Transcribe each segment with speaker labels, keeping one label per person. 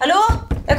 Speaker 1: Hallo? Jeg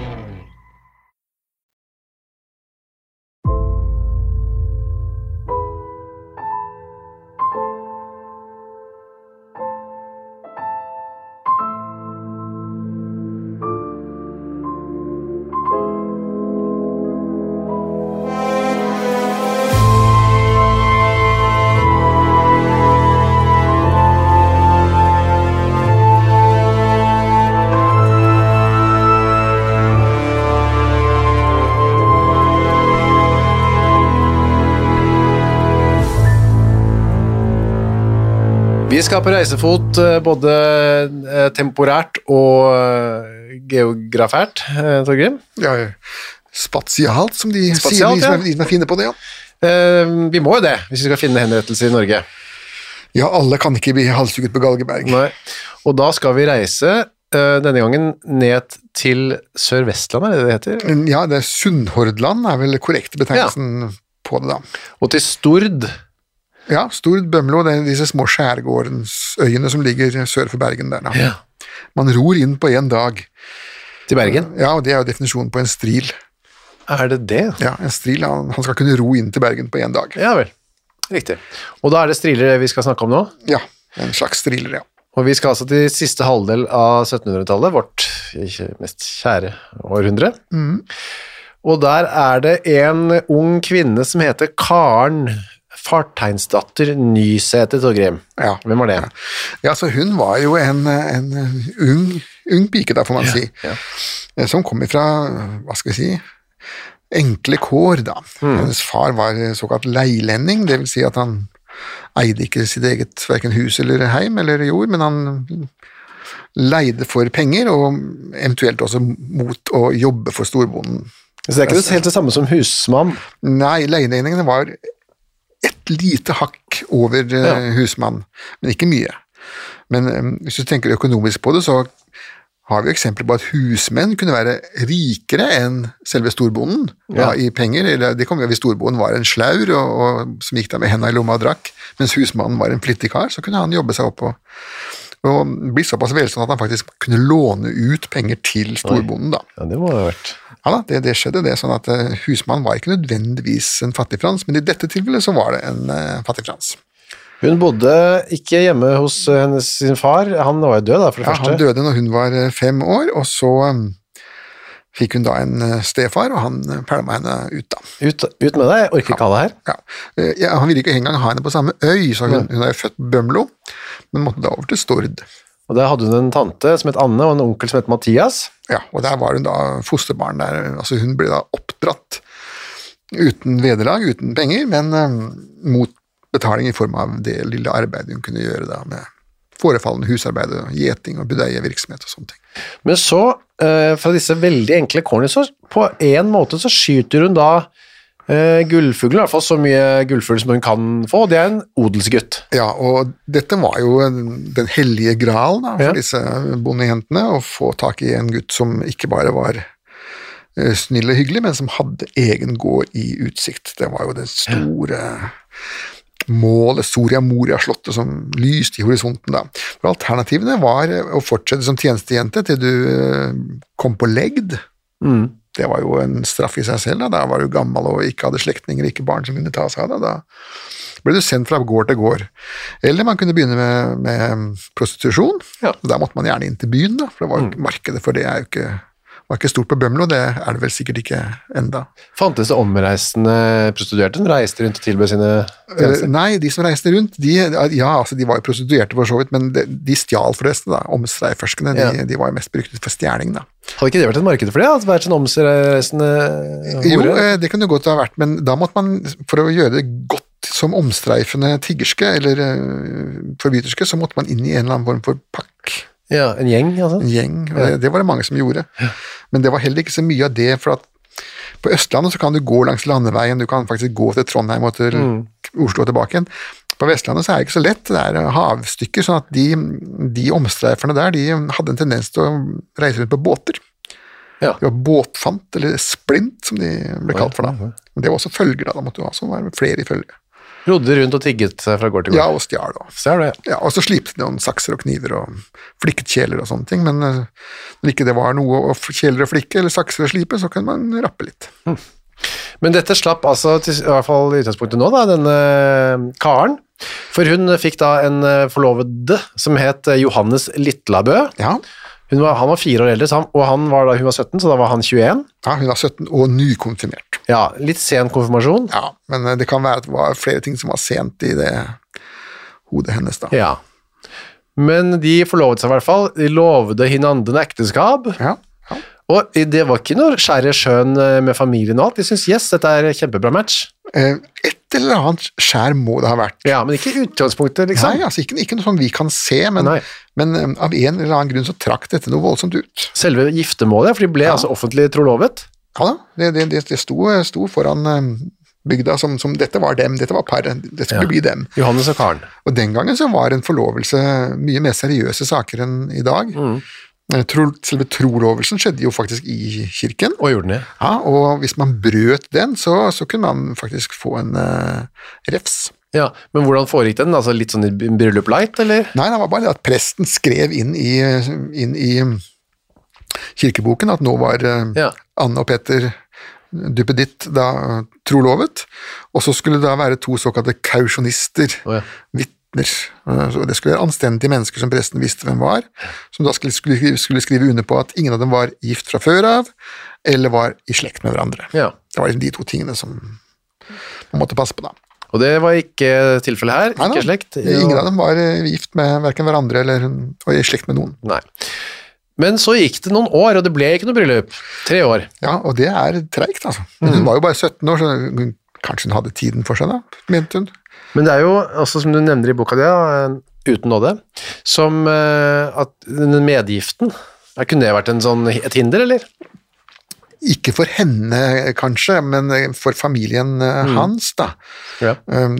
Speaker 2: Vi skal på reisefot eh, både eh, temporært og eh, geografært, eh, Torgrim.
Speaker 3: Ja, spatialt, som de
Speaker 2: Spatialt,
Speaker 3: sier, de
Speaker 2: ja.
Speaker 3: som, er, de som er fine på det. Ja.
Speaker 2: Eh, Vi må jo det, hvis vi skal finne henrettelser i Norge.
Speaker 3: ja, alle kan ikke bli halshugget på Galgeberg.
Speaker 2: Nei. Og da skal vi reise, eh, denne gangen ned til Sør-Vestlandet, er det det heter?
Speaker 3: Men ja, det er Sunnhordland er vel korrekte betegnelsen på det, da.
Speaker 2: Og til Stord.
Speaker 3: Ja, Stord, Bømlo, det er disse små skjærgårdsøyene som ligger sør for Bergen der, da. Man ror inn på én dag.
Speaker 2: Til Bergen.
Speaker 3: Ja, og det er jo definisjonen på en stril.
Speaker 2: Er det det?
Speaker 3: Ja, en stril, han, han skal kunne ro inn til Bergen på én dag.
Speaker 2: Ja vel. Riktig. Og da er det striler vi skal snakke om nå.
Speaker 3: Ja, en slags striler, ja.
Speaker 2: Og vi skal altså til siste halvdel av 1700-tallet, vårt ikke- mest kjære århundre. Og der er det en ung kvinne som heter Karen Farteinsdatter Nysæter Torgrim.
Speaker 3: Ja.
Speaker 2: Hvem var det?
Speaker 3: Ja, så hun var jo en, en ung, ung pike, da, får man si, Eh, som kom ifra, hva skal vi si, enkle kår, da. Hennes far var såkalt leilending, det vil si at han eide ikke sitt eget hverken hus eller heim eller jord, men han leide for penger, og eventuelt også mot å jobbe for storbonden.
Speaker 2: Så det er ikke det helt det samme som husmann.
Speaker 3: Nei, leielendingene var et lite hakk over eh, husmann, men ikke mye. Men eh, hvis du tenker økonomisk på det, så har vi eksempler på at husmenn kunne være rikere enn selve storbonden da, i penger. Eller det kom jo Hvis storbonden var en slaur og, og, som gikk der med henda i lomma og drakk, mens husmannen var en flittig kar, så kunne han jobbe seg opp og, og bli såpass velstående at han faktisk kunne låne ut penger til storbonden. da.
Speaker 2: Ja, det må det ha vært.
Speaker 3: Ja da, det, det skjedde det, sånn at eh, husmannen var ikke nødvendigvis en fattig frans, men i dette tilfellet så var det en eh, fattig frans.
Speaker 2: Hun bodde ikke hjemme hos eh, hennes, sin far. Han var jo død, da, for det
Speaker 3: Ja,
Speaker 2: første.
Speaker 3: han døde når hun var eh, fem år, og så eh, fikk hun da en eh, stefar, og han eh, pælma henne ut da.
Speaker 2: Ut, ut med deg, jeg orker ikke ha deg her.
Speaker 3: Ja. Eh, Ja, han ville ikke engang ha henne på samme øy, så hun, hun er jo født på Bømlo, men måtte da over til Stord.
Speaker 2: Og der hadde hun en tante som het Anne, og en onkel som het Mathias.
Speaker 3: Ja, og der var hun da fosterbarn der, altså hun ble da oppdratt uten vederlag, uten penger, men eh, mot betaling i form av det lille arbeidet hun kunne gjøre da med forefallende husarbeid og gjeting og budeievirksomhet og sånne ting.
Speaker 2: Men så, eh, fra disse veldig enkle kårene, så på en måte så skyter hun da eh, gullfuglen, i hvert fall så mye gullfugl som hun kan få, og det er en odelsgutt.
Speaker 3: Ja, og dette var jo en- den hellige gral da, for
Speaker 2: Ja.
Speaker 3: disse bondejentene, å få tak i en gutt som ikke bare var eh, snill og hyggelig, men som hadde egen gård i utsikt. Det var jo det store målet, Soria Moria-slottet, som lyste i horisonten da. For alternativene var eh, å fortsette som tjenestejente til du eh, kom på legd. Det var jo en straff i seg selv, da. Da var du gammel og ikke hadde slektninger, ikke barn som kunne ta seg av deg. Da ble du sendt fra gård til gård. Eller man kunne begynne med, med prostitusjon.
Speaker 2: Ja. Mm.
Speaker 3: Da måtte man gjerne inn til byen, da, for det var jo ikke markedet for det er jo ikke var ikke stort på Bømlo, det er det vel sikkert ikke enda.
Speaker 2: Fantes det omreisende prostituerte som reiste rundt og tilbød sine
Speaker 3: Eh,
Speaker 2: tjenester?
Speaker 3: nei, de som reiste rundt, de, ja, altså, de var jo prostituerte for så vidt, men de, de stjal forresten, da. Omstreiferskene,
Speaker 2: Ja.
Speaker 3: de, de var jo mest brukt for stjeling, da.
Speaker 2: Hadde ikke det vært et marked for det? At vært sånn omreisende
Speaker 3: Jo,
Speaker 2: hore?
Speaker 3: eh, det kunne godt ha vært, men da måtte man, for å gjøre det godt som omstreifende tiggerske eller eh, forbryterske, så måtte man inn i en eller annen form for pakk,
Speaker 2: Ja, en gjeng, altså?
Speaker 3: en gjeng. og Det, det var det mange som gjorde. Men det var heller ikke så mye av det, for at på Østlandet så kan du gå langs landeveien, du kan faktisk gå til Trondheim og til Oslo og tilbake igjen. På Vestlandet så er det ikke så lett, det er havstykker, sånn at de, de omstreiferne der, de hadde en tendens til å reise rundt på båter.
Speaker 2: Ja.
Speaker 3: Det var båtfant, eller splint, som de ble kalt for da. Men det var også følger, da. Da måtte du altså være flere i følge.
Speaker 2: Rodde rundt og tigget seg fra gård til
Speaker 3: Ja,
Speaker 2: gård.
Speaker 3: og stjal, da.
Speaker 2: Ser du det?
Speaker 3: Ja, og så slipte de noen sakser og kniver og flikket kjeler og sånne ting, men eh, når ikke det var noe å f- kjeler å flikke eller sakser å slipe, så kunne man rappe litt.
Speaker 2: Men dette slapp altså, til, i hvert fall i utgangspunktet nå, da, denne eh, karen. For hun fikk da en eh, forlovede som het eh, Johannes Litlabø.
Speaker 3: Ja,
Speaker 2: Hun var, han var fire år eldre, så han, og han var da hun var 17, så da var han 21.
Speaker 3: ja hun var 17 og nykonfirmert.
Speaker 2: Ja, litt sen konfirmasjon.
Speaker 3: Ja, men eh, det kan være at det var flere ting som var sent i det hodet hennes, da.
Speaker 2: Ja. Men de forlovet seg i hvert fall. De lovde hinanden ekteskap.
Speaker 3: Ja, ja.
Speaker 2: Og det var ikke noe skjære sjøen eh, med familien og alt. De syntes yes, dette er kjempebra match.
Speaker 3: Eh, Et eller annet skjær må det ha vært.
Speaker 2: Ja, Men ikke i utgangspunktet, liksom.
Speaker 3: Nei, altså ikke, ikke noe sånn vi kan se, men,
Speaker 2: Nei.
Speaker 3: men eh, av en eller annen grunn så trakk dette noe voldsomt ut.
Speaker 2: Selve giftermålet, for de ble altså offentlig trolovet.
Speaker 3: Ja da, det, det, det, det sto, sto foran eh, bygda som, som dette var dem, dette var paret, det skulle bli dem.
Speaker 2: Johannes og Karen.
Speaker 3: Og den gangen så var en forlovelse mye mer seriøse saker enn i dag. Eh, Tro, selve trolovelsen skjedde jo faktisk i kirken,
Speaker 2: Og gjorde den det.
Speaker 3: ja, og hvis man brøt den, så, så kunne man faktisk få en eh, refs.
Speaker 2: Ja, Men hvordan foregikk den? Altså Litt sånn i bryllup light, eller?
Speaker 3: Nei, det var bare det at presten skrev inn i, inn i kirkeboken at nå var eh,
Speaker 2: Ja.
Speaker 3: Anne og Petter duppeditt da trolovet, og så skulle det da være to såkalte kausjonister,
Speaker 2: Å ja.
Speaker 3: vitner. Eh, så Det skulle være anstendige mennesker som presten visste hvem var, som da skulle, skulle, skulle skrive under på at ingen av dem var gift fra før av, eller var i slekt med hverandre.
Speaker 2: Ja.
Speaker 3: Det var liksom de to tingene som man måtte passe på da.
Speaker 2: Og det var ikke tilfellet her.
Speaker 3: Nei,
Speaker 2: ikke
Speaker 3: nei,
Speaker 2: slekt.
Speaker 3: Ingen av dem var eh, gift med hverken hverandre eller og i slekt med noen.
Speaker 2: Nei. Men så gikk det noen år, og det ble ikke noe bryllup. Tre år.
Speaker 3: Ja, og det er treigt, altså. Men hun var jo bare 17 år, så hun, kanskje hun hadde tiden for seg da, mente hun.
Speaker 2: Men det er jo, også som du nevner i boka di, da, uten nåde, som eh, at den medgiften ja, Kunne det vært en sånn, et hinder, eller?
Speaker 3: Ikke for henne, kanskje, men for familien eh, hans, da.
Speaker 2: Ja.
Speaker 3: Um,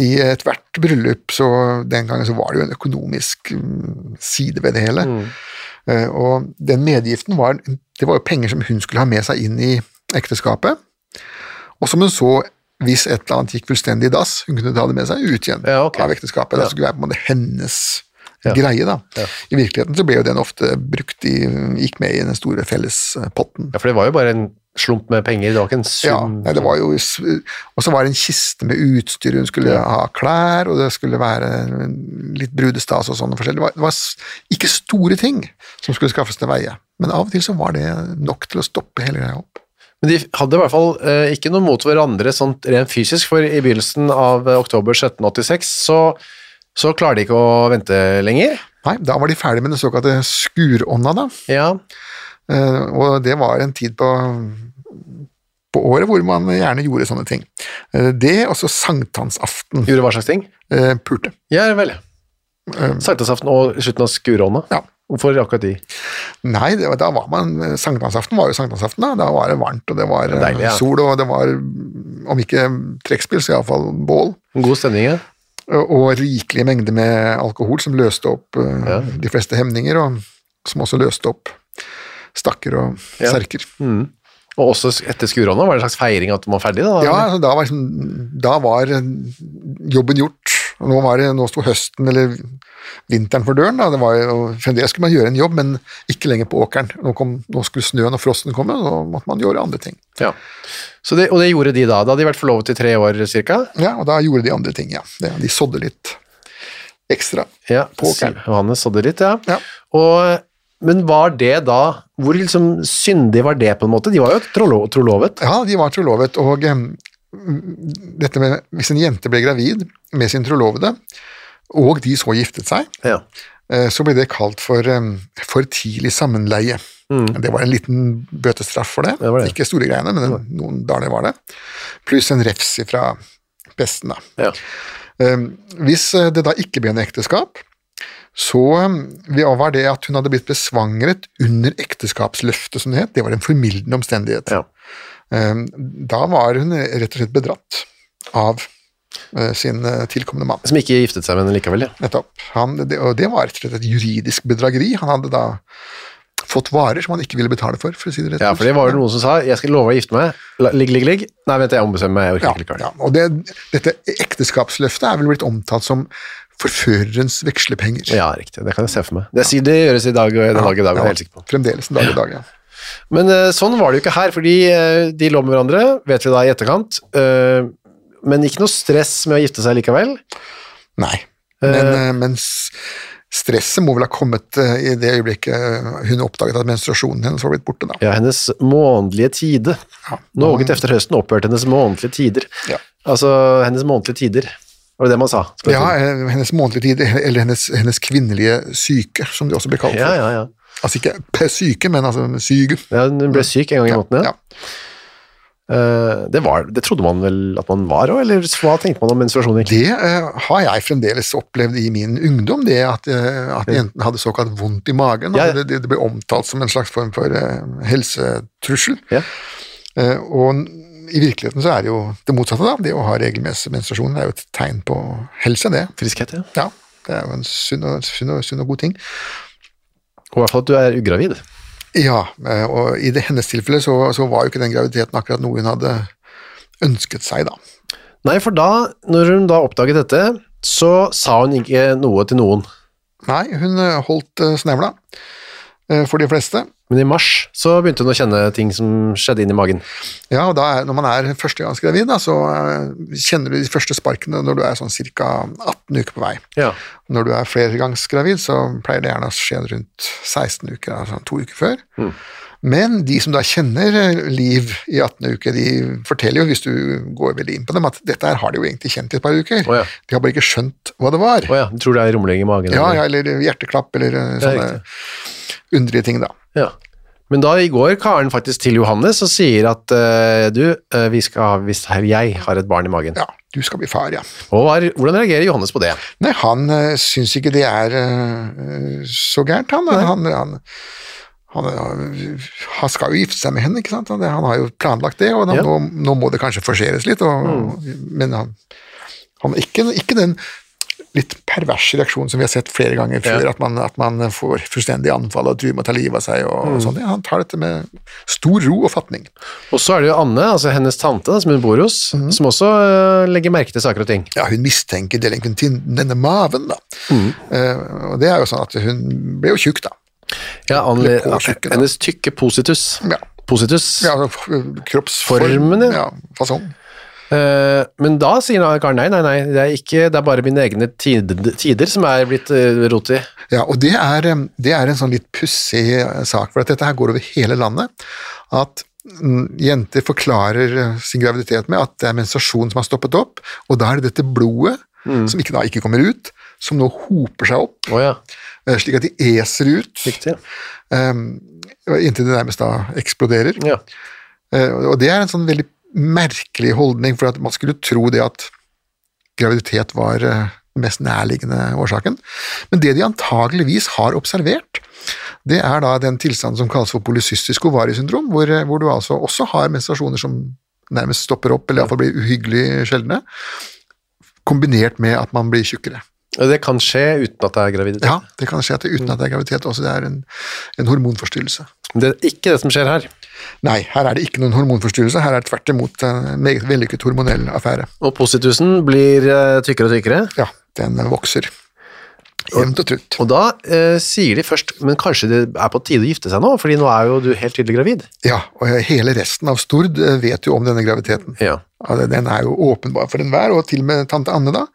Speaker 3: I ethvert bryllup så den gangen så var det jo en økonomisk mm, side ved det hele.
Speaker 2: Mm.
Speaker 3: Eh, og den medgiften var Det var jo penger som hun skulle ha med seg inn i ekteskapet. Og som hun så, hvis et eller annet gikk fullstendig i dass, hun kunne ta det med seg ut igjen
Speaker 2: Ja, ok.
Speaker 3: av ekteskapet. Det skulle være på en måte hennes
Speaker 2: Ja.
Speaker 3: greie, da. I virkeligheten så ble jo den ofte brukt i Gikk med i den store fellespotten.
Speaker 2: ja, for det var jo bare en slump med penger. Det var ikke en sum.
Speaker 3: Ja, nei, det var jo Og så var det en kiste med utstyr, hun skulle ha klær, og det skulle være litt brudestas og sånn forskjellig. Det var, det var s- ikke store ting som skulle skaffes til veie, men av og til så var det nok til å stoppe hele greia opp.
Speaker 2: Men de hadde i hvert fall eh, ikke noe mot hverandre sånn rent fysisk, for i begynnelsen av eh, oktober 1786 så, så klarer de ikke å vente lenger.
Speaker 3: Nei, da var de ferdig med den såkalte skurånda, da.
Speaker 2: Ja,
Speaker 3: Eh, Og det var en tid på, på året hvor man gjerne gjorde sånne ting. Eh, Det, og så sankthansaften.
Speaker 2: Gjorde hva slags ting?
Speaker 3: eh, Pulte.
Speaker 2: Ja vel. Sankthansaften og slutten av skurånda.
Speaker 3: Ja.
Speaker 2: Hvorfor akkurat de?
Speaker 3: Nei, det, var- da var man eh, Sankthansaften var jo sankthansaften, da. Da var det varmt, og det var eh,
Speaker 2: deilig, ja.
Speaker 3: sol, og det var mm, om ikke trekkspill, så iallfall bål.
Speaker 2: God stemning, ja.
Speaker 3: Og og rikelige mengder med alkohol som løste opp eh,
Speaker 2: Ja.
Speaker 3: de fleste hemninger, og som også løste opp stakker og
Speaker 2: Ja.
Speaker 3: serker.
Speaker 2: Og også etter skurånda, var det en slags feiring at de var ferdig da?
Speaker 3: Ja, altså, da, var liksom, da var eh, jobben gjort. Og Nå, var det, nå sto høsten eller vinteren for døren. Da. Det var jo, fremdeles skulle man gjøre en jobb, men ikke lenger på åkeren. Nå, kom, nå skulle snøen og frosten komme, og så måtte man gjøre andre ting.
Speaker 2: Ja. Så det, og det gjorde de da. Da hadde de vært forlovet i tre år cirka.
Speaker 3: Ja, og da gjorde de andre ting, ja. Det- De sådde litt ekstra.
Speaker 2: Ja,
Speaker 3: På åkeren.
Speaker 2: Johannes hadde litt, ja.
Speaker 3: Ja.
Speaker 2: Og, men var det da hvor liksom syndig var det, på en måte? De var jo trollo- trolovet.
Speaker 3: Ja, de var trolovet, og em, dette med hvis en jente ble gravid med sin trolovede, og de så giftet seg,
Speaker 2: Ja.
Speaker 3: eh, så ble det kalt for em, for tidlig sammenleie. Det var en liten bøtestraff for det.
Speaker 2: Mm. Det var det.
Speaker 3: Ikke store greiene, men noen daler var det. Pluss en refs fra presten, da.
Speaker 2: Ja.
Speaker 3: Ehm, Hvis eh, det da ikke ble en ekteskap, så ehm, vi- var det at hun hadde blitt besvangret under ekteskapsløftet, som det het. Det var en formildende omstendighet.
Speaker 2: Ja.
Speaker 3: Ehm, Da var hun rett og slett bedratt av eh, sin eh, tilkommende mann.
Speaker 2: Som ikke giftet seg med henne likevel, ja.
Speaker 3: Nettopp. Han, det, og det var rett og slett et juridisk bedrageri. Han hadde da fått varer som han ikke ville betale for, for å si det rett
Speaker 2: Ja,
Speaker 3: ut.
Speaker 2: for det var jo noen som sa 'jeg skal love å gifte meg', La- ligg, ligg, ligg. Nei, vent, jeg ombestemmer meg, jeg orker
Speaker 3: Ja,
Speaker 2: ikke likevel.
Speaker 3: ja, og det, dette ekteskapsløftet er vel blitt omtalt som forførerens vekslepenger.
Speaker 2: Ja, riktig. Det kan jeg se for meg. Det, sier- det gjøres i dag og den dag i dag, det er jeg helt sikker på.
Speaker 3: Fremdeles en dag i dag, ja.
Speaker 2: Men eh, sånn var det jo ikke her, fordi eh, de lå med hverandre, vet vi da i etterkant. Eh, men ikke noe stress med å gifte seg likevel.
Speaker 3: Nei. Men, eh, men s- stresset må vel ha kommet eh, i det øyeblikket eh, hun oppdaget at menstruasjonen hennes var blitt borte, da.
Speaker 2: Ja, hennes månedlige tide.
Speaker 3: Ja.
Speaker 2: Noe etter høsten opphørte hennes månedlige tider.
Speaker 3: Ja.
Speaker 2: Altså hennes månedlige tider, var det det man sa? skal jeg si.
Speaker 3: Ja, eh, hennes månedlige tid, eller hennes, hennes kvinnelige syke, som det også ble kalt. for.
Speaker 2: ja, ja, ja.
Speaker 3: Altså ikke p- syke, men altså syke.
Speaker 2: ja. Hun ble syk en gang i måneden, ja.
Speaker 3: Ja.
Speaker 2: Eh, det, var, det trodde man vel at man var òg, eller hva tenkte man om menstruasjon? egentlig?
Speaker 3: Det eh, har jeg fremdeles opplevd i min ungdom, det at, eh, at jentene hadde såkalt vondt i magen.
Speaker 2: Ja.
Speaker 3: altså Det, det- det ble omtalt som en slags form for eh, helsetrussel.
Speaker 2: Ja.
Speaker 3: Eh, og n- i virkeligheten så er det jo det motsatte, da. Det å ha regelmessig menstruasjon er jo et tegn på helse, det.
Speaker 2: Friskhet, ja.
Speaker 3: Ja, det er jo en sunn og, sunn og, sunn og god ting.
Speaker 2: Og i hvert fall at du er ugravid.
Speaker 3: Ja, eh, og i det hennes tilfelle så, så var jo ikke den graviditeten akkurat noe hun hadde ønsket seg, da.
Speaker 2: Nei, for da, når hun da oppdaget dette, så sa hun ikke noe til noen.
Speaker 3: Nei, hun eh, holdt eh, snevla eh, for de fleste.
Speaker 2: Men i mars så begynte hun å kjenne ting som skjedde inni magen.
Speaker 3: Ja, og da er, når man er førstegangsgravid, da, så eh, kjenner du de første sparkene når du er sånn ca. 18 uker på vei.
Speaker 2: Ja.
Speaker 3: Når du er flergangsgravid, så pleier det gjerne å skje rundt 16 uker, altså to uker før.
Speaker 2: Mm.
Speaker 3: Men de som da kjenner eh, liv i 18 uker, de forteller jo, hvis du går veldig inn på dem, at dette her har de jo egentlig kjent i et par uker.
Speaker 2: Å ja.
Speaker 3: De har bare ikke skjønt hva det var.
Speaker 2: Å ja, du tror det er rumling i magen?
Speaker 3: ja,
Speaker 2: eller?
Speaker 3: ja, eller hjerteklapp, eller eh,
Speaker 2: Ja,
Speaker 3: sånne underlige ting, da.
Speaker 2: Ja. Men da i går Karen faktisk til Johannes og sier at eh, du, eh, vi skal ha hvis her jeg har et barn i magen.
Speaker 3: Ja, du skal bli far, ja.
Speaker 2: Og hva er- hvordan reagerer Johannes på det?
Speaker 3: Nei, han uh, syns ikke det er eh, så gærent, han. Han, han, han, eh, han skal jo gifte seg med henne, ikke sant? Han, han har jo planlagt det, og da,
Speaker 2: Ja.
Speaker 3: nå, nå må det kanskje forseres litt. Og, Men han, han er ikke, ikke den litt perverse reaksjonen som vi har sett flere ganger før, at, man, at man får fullstendig anfall og truer med å ta livet av seg. og, og sånn. Ja, Han tar dette med stor ro og fatning.
Speaker 2: Og så er det jo Anne, altså hennes tante da, som hun bor hos, som også eh, legger merke til saker og ting.
Speaker 3: ja, hun mistenker delinkventinnen, denne maven, da. Eh, og det er jo sånn at hun ble jo tjukk, da.
Speaker 2: Ja, Anne,
Speaker 3: Eller påtjukke, da.
Speaker 2: hennes tykke positus.
Speaker 3: Ja.
Speaker 2: Positus.
Speaker 3: Ja, altså, f- kroppsform.
Speaker 2: Formen, ja.
Speaker 3: ja. Fasong.
Speaker 2: Eh, men da sier han- Karen nei, nei, nei, det er, ikke, det er bare mine egne tider, tider som er blitt uh, rot i.
Speaker 3: Ja, og det er, eh, det er en sånn litt pussig eh, sak, for at dette her går over hele landet. At mm, jenter forklarer eh, sin graviditet med at det er menstruasjon som har stoppet opp, og da er det dette blodet,
Speaker 2: Mm.
Speaker 3: som ikke, da ikke kommer ut, som nå hoper seg opp,
Speaker 2: Å ja,
Speaker 3: eh, slik at de eser ut,
Speaker 2: riktig.
Speaker 3: eh, inntil det nærmest da eksploderer.
Speaker 2: Ja.
Speaker 3: Eh, Og det er en sånn veldig merkelig holdning, for at man skulle tro det at graviditet var eh, den mest nærliggende årsaken. Men det de antageligvis har observert, det er da den tilstanden som kalles for polycystisk ovariesyndrom, hvor, eh, hvor du altså også har menstruasjoner som nærmest stopper opp, eller iallfall blir uhyggelig sjeldne, kombinert med at man blir tjukkere.
Speaker 2: Og Det kan skje uten at det er graviditet.
Speaker 3: Ja, det kan skje at det, uten at det er graviditet også, det er en, en hormonforstyrrelse.
Speaker 2: Det er ikke det som skjer her.
Speaker 3: Nei, her er det ikke noen hormonforstyrrelse, her er det tvert imot en meget vellykket hormonell affære.
Speaker 2: Og positusen blir eh, tykkere og tykkere.
Speaker 3: Ja, den vokser. Jevnt og trutt.
Speaker 2: Og da eh, sier de først, men kanskje det er på tide å gifte seg nå, fordi nå er jo du helt tydelig gravid.
Speaker 3: Ja, og hele resten av Stord eh, vet jo om denne graviteten.
Speaker 2: Ja.
Speaker 3: Ja, den- Den er jo åpenbar for enhver, og til og med tante Anne, da.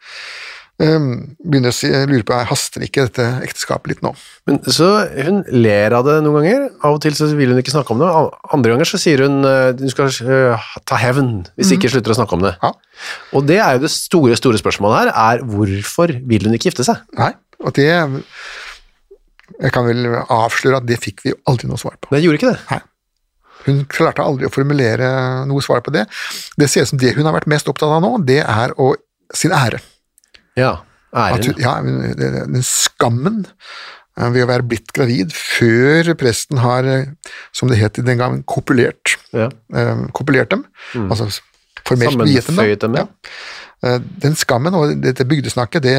Speaker 3: Ehm, begynner å si, lure på jeg haster ikke dette ekteskapet litt nå.
Speaker 2: Men så hun ler av det noen ganger. Av og til så vil hun ikke snakke om det. An- Andre ganger så sier hun eh, du skal eh, ta hevn hvis ikke slutter å snakke om det.
Speaker 3: Ja.
Speaker 2: Og det er jo det store, store spørsmålet her, er hvorfor vil hun ikke gifte seg?
Speaker 3: Nei, og det Jeg kan vel avsløre at det fikk vi jo aldri noe svar på.
Speaker 2: Det gjorde ikke det.
Speaker 3: Hun klarte aldri å formulere noe svar på det. Det ser ut som det hun har vært mest opptatt av nå, det er å, sin ære.
Speaker 2: Ja,
Speaker 3: At hun,
Speaker 2: æren.
Speaker 3: ja, hun- det- det- den skammen eh, ved å være blitt gravid før presten har, eh, som det het den gangen, kopulert,
Speaker 2: Ja.
Speaker 3: eh, kopulert dem. Altså formelt viet dem. da.
Speaker 2: Sammenføyet dem, ja.
Speaker 3: Eh, Den skammen og dette bygdesnakket, det,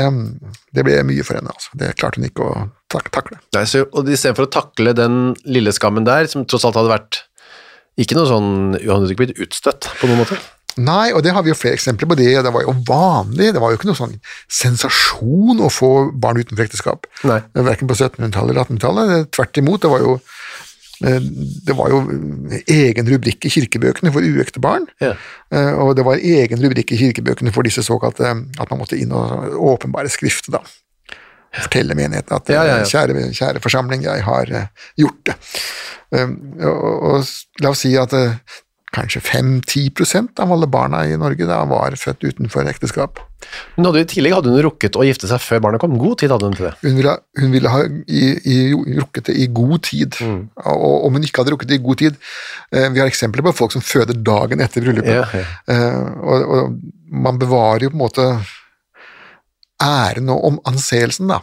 Speaker 3: det ble mye for henne. Altså. Det klarte hun ikke å tak takle.
Speaker 2: Nei, så, og istedenfor å takle den lille skammen der, som tross alt hadde vært ikke noe sånn Han hadde ikke blitt utstøtt på noen måte.
Speaker 3: Nei, og det har vi jo flere eksempler på. Det Det var jo vanlig, det var jo ikke noe sånn sensasjon å få barn utenfor ekteskap.
Speaker 2: Nei.
Speaker 3: Verken på 1700-tallet eller 1800-tallet. Tvert imot, det var jo eh, det var jo egen rubrikk i kirkebøkene for uekte barn,
Speaker 2: Ja.
Speaker 3: eh, og det var egen rubrikk i kirkebøkene for disse såkalte at man måtte inn og åpenbare skriftet, da. Fortelle menigheten at eh,
Speaker 2: Ja, ja, ja.
Speaker 3: Kjære, kjære forsamling, jeg har eh, gjort det. Um, og, og s- la oss si at eh, kanskje 5-10 av alle barna i Norge da var født utenfor ekteskap.
Speaker 2: Hun hadde, jo- I tillegg hadde hun rukket å gifte seg før barnet kom. God tid hadde hun til det.
Speaker 3: Hun ville, hun ville ha i, i, rukket det i god tid,
Speaker 2: Mm.
Speaker 3: og om hun ikke hadde rukket det i god tid eh, Vi har eksempler på folk som føder dagen etter bryllupet,
Speaker 2: Ja, ja.
Speaker 3: Eh, og, og man bevarer jo på en måte æren og om anseelsen, da.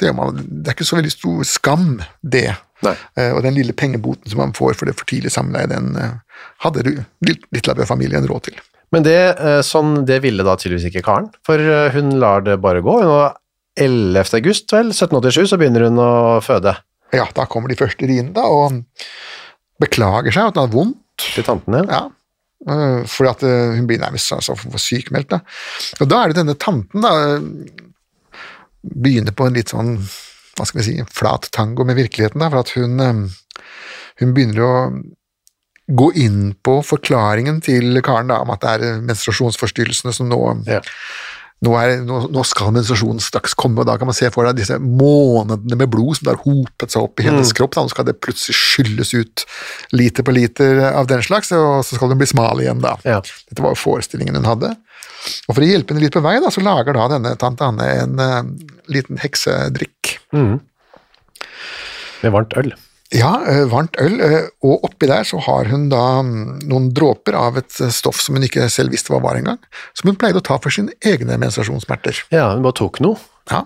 Speaker 3: Det, gjør man, det er ikke så veldig stor skam, det.
Speaker 2: Nei.
Speaker 3: Eh, og den lille pengeboten som man får for det for tidlig samleie, den eh, hadde du- litt- Litlabø-familien råd til.
Speaker 2: Men det, eh, sånn, det ville da tydeligvis ikke Karen, for eh, hun lar det bare gå. Hun var 11. august, vel, 1787, så begynner hun å føde
Speaker 3: Ja, da kommer de første riene, da, og beklager seg at hun hadde vondt.
Speaker 2: til tantene.
Speaker 3: Ja. Øh, Fordi at øh, hun blir nærmest altså, for- for sykmeldt. Da. Og da er det denne tanten da, øh, begynner på en litt sånn hva skal vi si, en flat tango med virkeligheten. Da, for at hun, øh, hun begynner å gå inn på forklaringen til Karen da, om at det er eh, menstruasjonsforstyrrelsene som nå
Speaker 2: Ja.
Speaker 3: nå, er, nå, nå skal menstruasjonen straks komme, og da kan man se for deg disse månedene med blod som da har hopet seg opp i hennes kropp. Da. Nå skal det plutselig skylles ut liter på liter av den slags, og så skal hun bli smal igjen, da.
Speaker 2: Ja.
Speaker 3: Dette var jo forestillingen hun hadde. Og for å hjelpe henne litt på vei, da, så lager da denne tante Anne en eh, liten heksedrikk.
Speaker 2: Med varmt øl.
Speaker 3: Ja, eh, varmt øl, eh, og oppi der så har hun da mm, noen dråper av et eh, stoff som hun ikke selv visste hva var engang, som hun pleide å ta for sine egne menstruasjonssmerter.
Speaker 2: Ja, hun bare tok noe.
Speaker 3: Ja.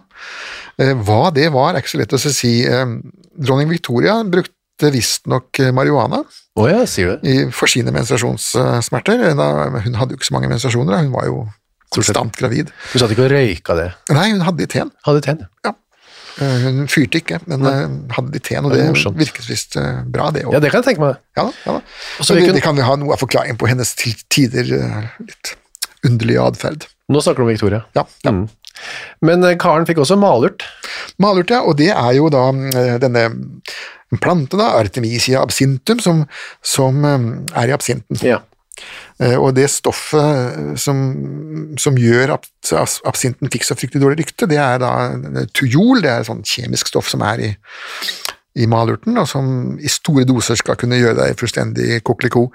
Speaker 3: Eh, Hva det var, er ikke så lett å si. Eh, Dronning Victoria brukte visstnok eh, marihuana
Speaker 2: Å ja, sier du det.
Speaker 3: i- for sine menstruasjonssmerter. Eh, da- men Hun hadde jo ikke så mange menstruasjoner, da. hun var jo konstant gravid.
Speaker 2: Hun satt ikke og røyka det.
Speaker 3: Nei, hun hadde i teen.
Speaker 2: Hadde tenn.
Speaker 3: Eh, Hun fyrte ikke, men eh, hadde i teen, og
Speaker 2: Det er
Speaker 3: det
Speaker 2: morsomt.
Speaker 3: virket visst eh, bra, det òg.
Speaker 2: Ja,
Speaker 3: Ja,
Speaker 2: det kan jeg tenke meg.
Speaker 3: da, ja da.
Speaker 2: Og så
Speaker 3: Men
Speaker 2: gikk
Speaker 3: det,
Speaker 2: hun-
Speaker 3: det kan vi ha noe av forklaringen på hennes til tider eh, litt underlige atferd.
Speaker 2: Nå snakker du om Victoria.
Speaker 3: Ja, ja.
Speaker 2: Mm. Men eh, Karen fikk også malurt.
Speaker 3: Malurt, ja, og det er jo da eh, denne plante, da, Artemisia absintum, som, som eh, er i absinten.
Speaker 2: Ja.
Speaker 3: Eh, Og det stoffet eh, som, som gjør at as- absinten fikk så fryktelig dårlig rykte, det er da eh, tujol, det er et sånn kjemisk stoff som er i, i malurten, og som i store doser skal kunne gjøre deg fullstendig kokeliko.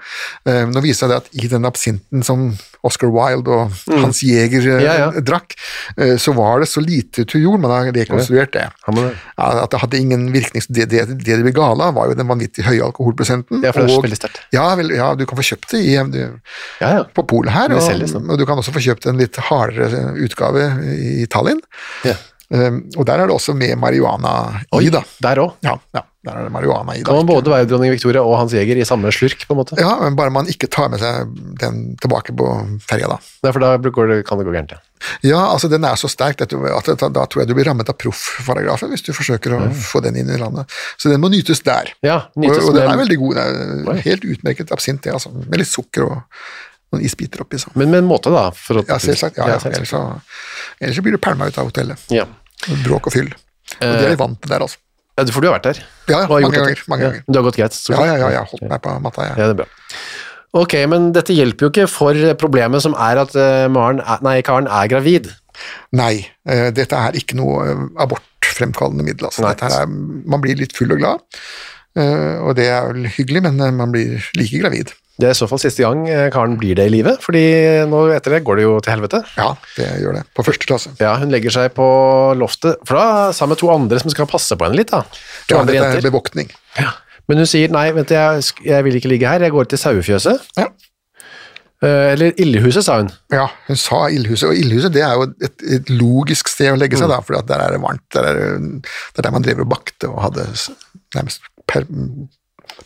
Speaker 3: Eh, Nå viser det seg at i den absinten som Oscar Wilde og Hans Jæger eh,
Speaker 2: Mm. Ja, ja.
Speaker 3: drakk, eh, så var det så lite tujol, man har rekonstruert det.
Speaker 2: Ja, men det-
Speaker 3: Ja, at det hadde ingen virkning. så Det, det, det det ble gale av, var jo den vanvittig høye alkoholprosenten.
Speaker 2: Ja, for det er så
Speaker 3: og-
Speaker 2: veldig sterkt.
Speaker 3: Ja, vel, ja, du kan få kjøpt det i, eh, du,
Speaker 2: Ja, ja.
Speaker 3: på polet her,
Speaker 2: Det
Speaker 3: og,
Speaker 2: selges, da.
Speaker 3: og du kan også få kjøpt en litt hardere eh, utgave i Tallinn.
Speaker 2: ja.
Speaker 3: Um, og der er det også med marihuana i, da.
Speaker 2: Der òg.
Speaker 3: Ja, ja, der er det marihuana i, da.
Speaker 2: Kan man både være dronning Victoria og Hans Jæger i samme slurk, på en måte.
Speaker 3: Ja, men bare man ikke tar med seg den tilbake på ferja, da.
Speaker 2: Nei, for da går det, kan det gå gærent. Ja.
Speaker 3: Ja, altså den er så sterk at, du, at da, da tror jeg du blir rammet av proffparagrafen hvis du forsøker å få den inn i landet. Så den må nytes der.
Speaker 2: Mm. Ja, nytes
Speaker 3: og, og den
Speaker 2: med-
Speaker 3: er veldig god. Den
Speaker 2: Oi.
Speaker 3: er helt utmerket absint, det, altså. Med litt sukker og noen isbiter oppi. Så.
Speaker 2: Men med en måte, da. For å,
Speaker 3: Ja, selvsagt. Ja, ja,
Speaker 2: selvsagt.
Speaker 3: ellers, så, ellers så blir du pælma ut av hotellet.
Speaker 2: Ja.
Speaker 3: Bråk og fyll. Og det
Speaker 2: Eh,
Speaker 3: er vi vant til der, altså.
Speaker 2: Ja, for du har vært der?
Speaker 3: Ja, ja,
Speaker 2: Og har gjort
Speaker 3: mange
Speaker 2: dette.
Speaker 3: ganger, mange
Speaker 2: Ja,
Speaker 3: ganger.
Speaker 2: men Det har gått greit? stort
Speaker 3: Ja,
Speaker 2: sett?
Speaker 3: ja, ja, jeg har holdt meg på matta, jeg.
Speaker 2: Ja, det er bra. eh, Ok, men dette hjelper jo ikke for problemet som er at eh, Maren er, nei, Karen er gravid.
Speaker 3: Nei, eh, dette er ikke noe eh, abortfremkallende middel. Altså.
Speaker 2: Nei.
Speaker 3: Dette her er, man blir litt full og glad, eh, og det er vel hyggelig, men eh, man blir like gravid.
Speaker 2: Det er i så fall siste gang eh, Karen blir det i livet, fordi nå etter det går det jo til helvete.
Speaker 3: Ja, det gjør det. På første klasse.
Speaker 2: Ja, hun legger seg på loftet, for da sammen med to andre som skal passe på henne litt, da. To
Speaker 3: Ja,
Speaker 2: andre
Speaker 3: dette er
Speaker 2: jenter.
Speaker 3: bevoktning.
Speaker 2: Ja. Men hun sier nei, vent, jeg, sk- jeg vil ikke ligge her, jeg går til sauefjøset.
Speaker 3: Ja.
Speaker 2: Eh, Eller illehuset, sa hun.
Speaker 3: Ja, hun sa ildhuset, og ildhuset det er jo et, et logisk sted å legge seg, da, for der er det varmt. Der er, det- det er der man drev og bakte og hadde s- nærmest per,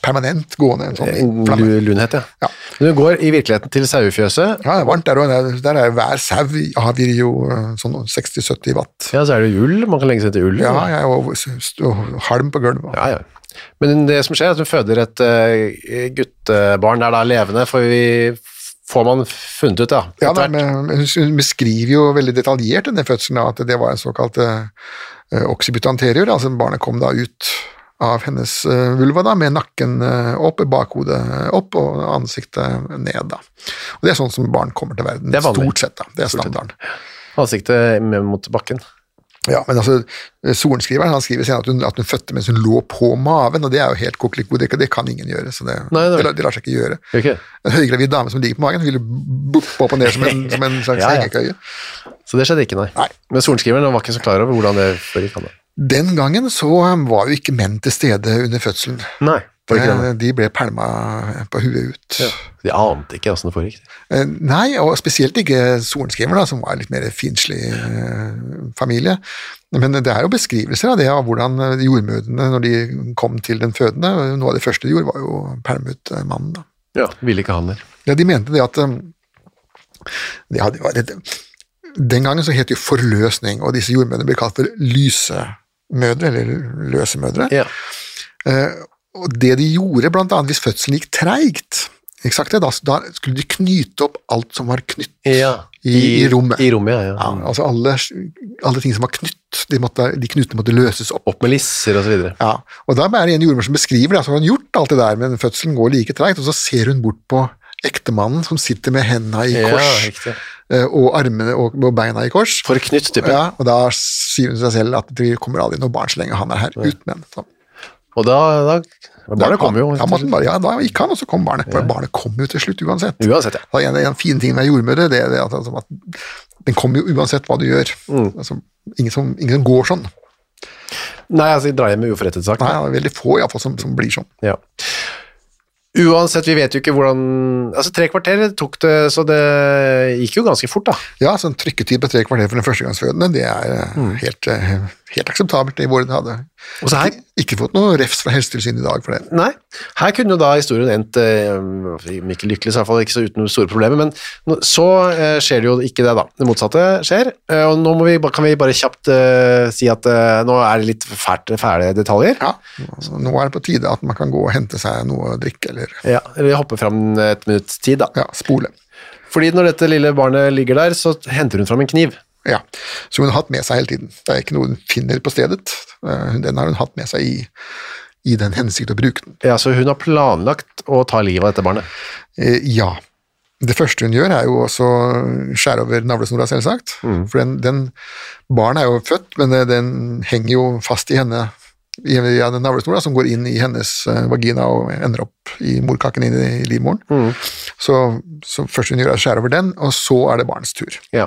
Speaker 3: permanent gående en
Speaker 2: Eh, oh,
Speaker 3: sånn flamme.
Speaker 2: Lu- Lunhet, ja.
Speaker 3: Ja.
Speaker 2: Men hun går i virkeligheten til sauefjøset,
Speaker 3: Ja, det er varmt der òg. Der, der er hver sau avgir jo eh, sånn 60-70 watt.
Speaker 2: ja, så er det jo ull, man kan legge seg til ull.
Speaker 3: Ja, ja og, s- og halm på gulvet.
Speaker 2: Ja, ja. Men det som skjer er at hun føder et eh, guttebarn der da levende, for vi får man funnet ut, da.
Speaker 3: Ja, nei,
Speaker 2: etter hvert.
Speaker 3: men hun hun beskriver jo veldig detaljert denne fødselen, at det var en såkalt eh, occiput anterior, altså barnet kom da ut av hennes eh, vulva da, med nakken eh, opp, bakhodet eh, opp og ansiktet ned. da. Og Det er sånn som barn kommer til verden,
Speaker 2: Det er vanlig.
Speaker 3: stort sett. da, Det er standarden.
Speaker 2: Ansiktet med- mot bakken.
Speaker 3: Ja, men altså, eh, Sorenskriveren han skriver senere at hun, at hun fødte mens hun lå på maven, og det er jo helt kokeliko, det, det kan ingen gjøre. så det,
Speaker 2: Nei, nei.
Speaker 3: det, lar- det lar seg ikke gjøre.
Speaker 2: Gjør ikke det?
Speaker 3: En høygravid dame som ligger på magen, vil jo boppe opp og ned som en, som en slags
Speaker 2: Ja, ja.
Speaker 3: hengekøye.
Speaker 2: Så det skjedde ikke, nei.
Speaker 3: Nei.
Speaker 2: Men sorenskriveren han var ikke så klar over hvordan det foregikk. han da.
Speaker 3: Den gangen så um, var jo ikke menn til stede under fødselen.
Speaker 2: Nei, var ikke det.
Speaker 3: Eh, De ble pælma eh, på huet ut.
Speaker 2: De ante ikke åssen det foregikk.
Speaker 3: Eh, Nei, og spesielt ikke sorenskriver, da, som var en litt mer finslig eh, familie. Men det er jo beskrivelser av det, av hvordan eh, jordmødrene, når de kom til den fødende eh, Noe av det første de gjorde, var jo å pælme ut eh, mannen. da.
Speaker 2: Ja, Ville ikke han der.
Speaker 3: Ja, de mente det at um, det hadde, vært- Den gangen så het det jo forløsning, og disse jordmødrene ble kalt for lysemødre, eller løsemødre.
Speaker 2: Ja.
Speaker 3: Eh, og det de gjorde, blant annet hvis fødselen gikk treigt, ikke sagt det, da, da skulle de knyte opp alt som var knytt. I- i rommet.
Speaker 2: I rommet, ja,
Speaker 3: Ja,
Speaker 2: ja.
Speaker 3: altså alle, alle ting som var knytt, de, måtte, de knutene måtte løses opp.
Speaker 2: Opp med lisser og så videre.
Speaker 3: Ja, og da er det en jordmor som beskriver det, altså hun har gjort alt det der, men fødselen går like treigt, og så ser hun bort på ektemannen som sitter med hendene i
Speaker 2: Ja,
Speaker 3: kors,
Speaker 2: riktig.
Speaker 3: eh, og armene og, og beina i kors.
Speaker 2: Forknytt type.
Speaker 3: ja, og da sier hun seg selv at det kommer aldri noe barn så lenge han er her, uten henne. Så.
Speaker 2: Og da, da Barnet
Speaker 3: Ja,
Speaker 2: kom jo.
Speaker 3: Ja, måtte bare, ja, da gikk han, og så kom barnet. For barnet kom jo til slutt uansett.
Speaker 2: Uansett, ja.
Speaker 3: Og en, en fin ting med jordmødre, det er det at, altså, at den kommer jo uansett hva du gjør.
Speaker 2: Mm.
Speaker 3: Altså, ingen, som, ingen som går sånn.
Speaker 2: Nei, altså, de drar hjem med uforrettet sak.
Speaker 3: Nei, det er veldig få i alle fall som, som blir sånn.
Speaker 2: Ja. Uansett, vi vet jo ikke hvordan Altså, tre kvarter tok det, så det gikk jo ganske fort, da.
Speaker 3: Ja, sånn trykketid på tre kvarter for den førstegangsfødende, det er eh,
Speaker 2: Mm.
Speaker 3: helt, eh, helt akseptabelt i våre dager.
Speaker 2: Og så her
Speaker 3: Ikke, ikke fått noe refs fra Helsetilsynet i dag for det.
Speaker 2: Nei, her kunne jo da historien endt eh, om ikke lykkelig, så i hvert fall ikke så uten noen store problemer, men nå- så eh, skjer det jo ikke det da. Det motsatte skjer, eh, og nå må vi, ba- kan vi bare kjapt eh, si at eh, nå er det litt fælt, fæle detaljer.
Speaker 3: Ja,
Speaker 2: Mm.
Speaker 3: altså, nå er det på tide at man kan gå og hente seg noe å drikke, eller
Speaker 2: Ja, eller vi hopper frem et minutts tid da.
Speaker 3: ja, spole.
Speaker 2: Fordi når dette lille barnet ligger der, så henter hun frem en kniv.
Speaker 3: Ja, Som hun har hatt med seg hele tiden. Det er ikke noe hun finner på stedet. Eh, Den har hun hatt med seg i, i den hensikt å bruke den.
Speaker 2: Ja, så hun har planlagt å ta livet av dette barnet.
Speaker 3: Eh, Ja. Det første hun gjør, er jo også å skjære over navlesnora, selvsagt. For den, den barnet er jo født, men eh, den henger jo fast i henne i i den navlesnora, som går inn i hennes eh, vagina og ender opp i morkaken inn i livmoren. Så, så først hun gjør er å skjære over den, og så er det barnets tur.
Speaker 2: Ja.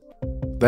Speaker 2: Det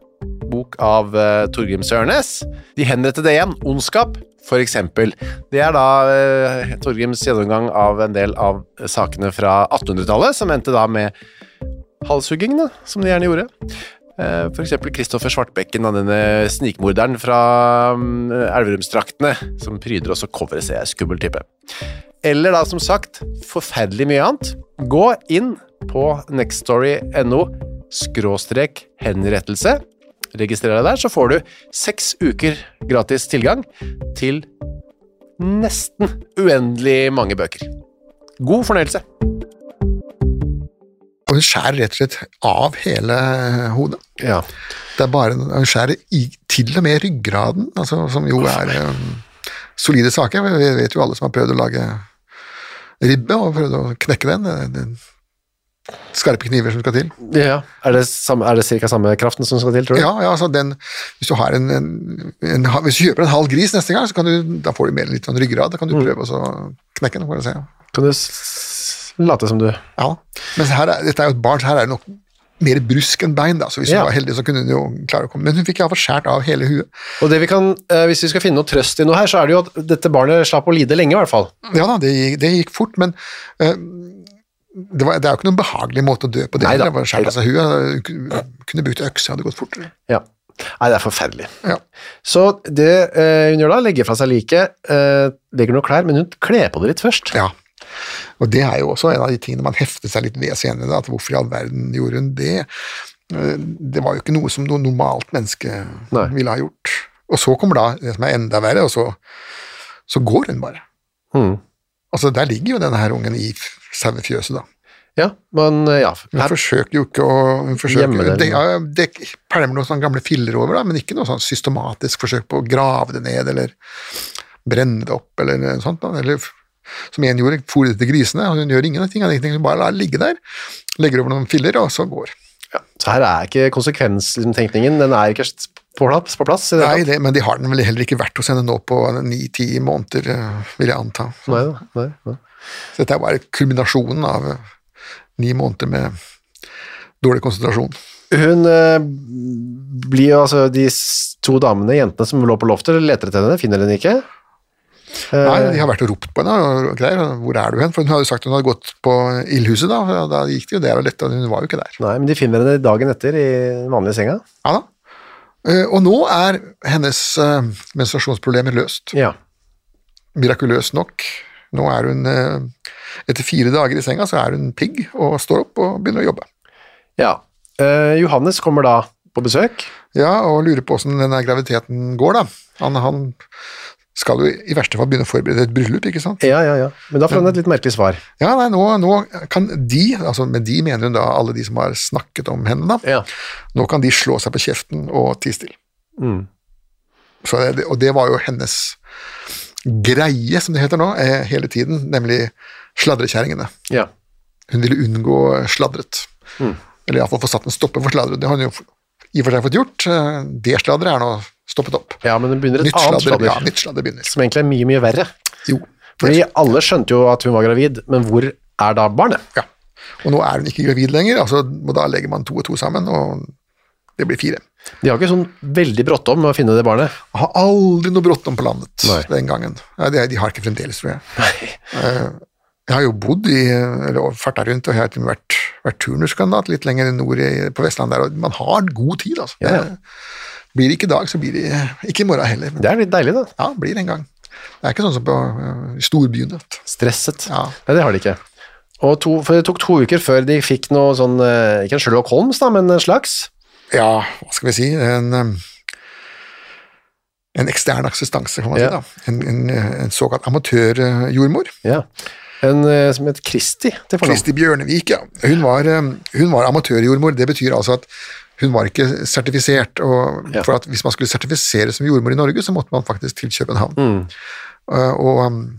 Speaker 2: bok av uh, Torgrim Sørnes. De henrettede igjen, ondskap, for eksempel. Det er da eh, Torgrims gjennomgang av en del av sakene fra 1800-tallet, som endte da med halshuggingene, som de gjerne gjorde. Eh, For eksempel Kristoffer Svartbekken, da, denne snikmorderen fra mm, Elverumsdraktene, som pryder også coveret, ser jeg, skummel type. Eller da, som sagt, forferdelig mye annet. Gå inn på nextstory.no skråstrek henrettelse. Registrer deg der, så får du seks uker gratis tilgang til nesten uendelig mange bøker. God fornøyelse!
Speaker 3: Og hun skjærer rett og slett av hele hodet.
Speaker 2: Ja.
Speaker 3: Det er bare, Hun skjærer i, til og med ryggraden, altså, som jo er um, solide saker. Vi vet jo alle som har prøvd å lage ribbe og prøvd å knekke den. Det- det- Skarpe kniver som skal til.
Speaker 2: Er det, samme, er det cirka samme kraften som skal til, tror du?
Speaker 3: Ja, ja altså den, hvis, du har en, en, en, ha- hvis du kjøper en halv gris neste gang, så kan du, da får du mer litt sånn ryggrad. Da kan du prøve å så knekke den. Får jeg se.
Speaker 2: Kan du s- late som du
Speaker 3: Ja. Mens her er, dette er jo et barn, så her er det nok mer brusk enn bein, da. så hvis
Speaker 2: Ja.
Speaker 3: hun var heldig, så kunne hun jo klare å komme. Men hun fikk iallfall skåret av hele huet.
Speaker 2: Og det vi kan, eh, Hvis vi skal finne noe trøst i noe her, så er det jo at dette barnet slapp å lide lenge, i hvert fall.
Speaker 3: Ja da, det gikk, det gikk fort, men eh, det, var, det er jo ikke noen behagelig måte å dø på det.
Speaker 2: Neida,
Speaker 3: det var skjært av seg huet. Hun kunne brukt øks, det hadde gått fortere.
Speaker 2: Ja. Nei, det er forferdelig.
Speaker 3: Ja.
Speaker 2: Så det eh, hun gjør da, legger fra seg liket, eh, legger noen klær, men hun kler på det litt først.
Speaker 3: Ja. Og det er jo også en av de tingene man heftet seg litt ved senere, da, at hvorfor i all verden gjorde hun det? Eh, Det var jo ikke noe som noe normalt menneske
Speaker 2: Nei.
Speaker 3: ville ha gjort. Og så kommer da det som er enda verre, og så, så går hun bare.
Speaker 2: Mhm.
Speaker 3: Altså, der ligger jo denne her ungen i f- sauefjøset, da.
Speaker 2: Ja, men eh, ja.
Speaker 3: Hun
Speaker 2: Her,
Speaker 3: forsøker jo ikke å hun
Speaker 2: Gjemme
Speaker 3: forsøker,
Speaker 2: den.
Speaker 3: det, ja, det pælmer noen sånne gamle filler over, da, men ikke noe sånn systematisk forsøk på å grave det ned eller brenne det opp eller noe sånt. Da. Eller f- som en gjorde, fôret til grisene, og hun gjør ingenting, han ingenting, hun bare lar det ligge der, legger over noen filler, og så går.
Speaker 2: så her er ikke konsekvenstenkningen, den er ikke på plass. På plass i det hele
Speaker 3: Nei, det, men de har den vel heller ikke vært hos henne nå på ni-ti måneder, eh, vil jeg anta.
Speaker 2: tatt. nei, da, nei, nei.
Speaker 3: Så dette er bare kulminasjonen av eh, ni måneder med dårlig konsentrasjon.
Speaker 2: Hun eh, blir jo altså De s- to damene, jentene som lå på loftet, leter etter henne, finner henne ikke. Eh,
Speaker 3: Nei, de har vært og ropt på henne og og greier. og Hvor er du hen? For hun hadde jo sagt hun hadde gått på ildhuset, da. og Da gikk det jo der og lette, og hun var jo ikke der.
Speaker 2: nei, men de finner henne dagen etter i den vanlige senga.
Speaker 3: Ja da. Eh, Og nå er hennes eh, menstruasjonsproblemer løst.
Speaker 2: Ja.
Speaker 3: Mirakuløst nok. Nå er hun eh, Etter fire dager i senga så er hun pigg og står opp og begynner å jobbe.
Speaker 2: ja. Eh, Johannes kommer da på besøk.
Speaker 3: Ja, og lurer på åssen denne graviditeten går, da. Han, han skal jo i verste fall begynne å forberede et bryllup, ikke sant.
Speaker 2: Ja, ja, ja. Men da får hun et litt merkelig svar.
Speaker 3: Ja, nei, nå, nå kan de, altså med de mener hun da alle de som har snakket om henne, da. Nå kan de slå seg på kjeften og tie stille.
Speaker 2: Mm.
Speaker 3: Så det, og det var jo hennes greie, som det heter nå, eh, hele tiden, nemlig sladrekjerringene.
Speaker 2: ja.
Speaker 3: Hun ville unngå sladret.
Speaker 2: Mm.
Speaker 3: Eller iallfall få satt en stopper for sladret. Det har hun jo i og for seg fått gjort. Eh, Det sladret er nå stoppet opp.
Speaker 2: Ja, men hun begynner et
Speaker 3: Nytt
Speaker 2: annet
Speaker 3: sladder, ja,
Speaker 2: sladder,
Speaker 3: nytt sladder begynner.
Speaker 2: som egentlig er mye, mye verre.
Speaker 3: Jo.
Speaker 2: Fordi alle skjønte jo at hun var gravid, men hvor er da barnet?
Speaker 3: Ja. Og nå er hun ikke gravid lenger, altså, og da legger man to og to sammen, og det blir fire.
Speaker 2: De har ikke sånn veldig bråttom med å finne det barnet.
Speaker 3: Har aldri noe bråttom på landet
Speaker 2: Nei.
Speaker 3: den gangen. Nei, det- De har ikke fremdeles, tror jeg. Eh, Jeg har jo bodd i, eller farta rundt, og jeg har til og med vært, vært turnuskandidat litt lenger nord i, på Vestlandet der, og man har god tid, altså.
Speaker 2: Ja, ja.
Speaker 3: Det Blir det ikke i dag, så blir det ikke i morgen heller. Men,
Speaker 2: Det er litt deilig, da.
Speaker 3: ja, blir det en gang. Det er ikke sånn som på eh, i storbyene. vet du.
Speaker 2: Stresset.
Speaker 3: Ja.
Speaker 2: Nei, det har de ikke. Og to, for det tok to uker før de fikk noe sånn, eh, ikke en Sherlock Holmes da, men en slags.
Speaker 3: Ja, hva skal vi si, en, eh, en ekstern assistanse, kan man
Speaker 2: Ja.
Speaker 3: si. da. En, en, eh, en såkalt amatørjordmor.
Speaker 2: Ja. En eh, som het Kristi til fornavn.
Speaker 3: Kristi Bjørnevik, ja. Hun var, eh, hun var amatørjordmor. Det betyr altså at hun var ikke sertifisert. Og
Speaker 2: Ja.
Speaker 3: for at Hvis man skulle sertifiseres som jordmor i Norge, så måtte man faktisk til København
Speaker 2: Mm.
Speaker 3: eh, og um,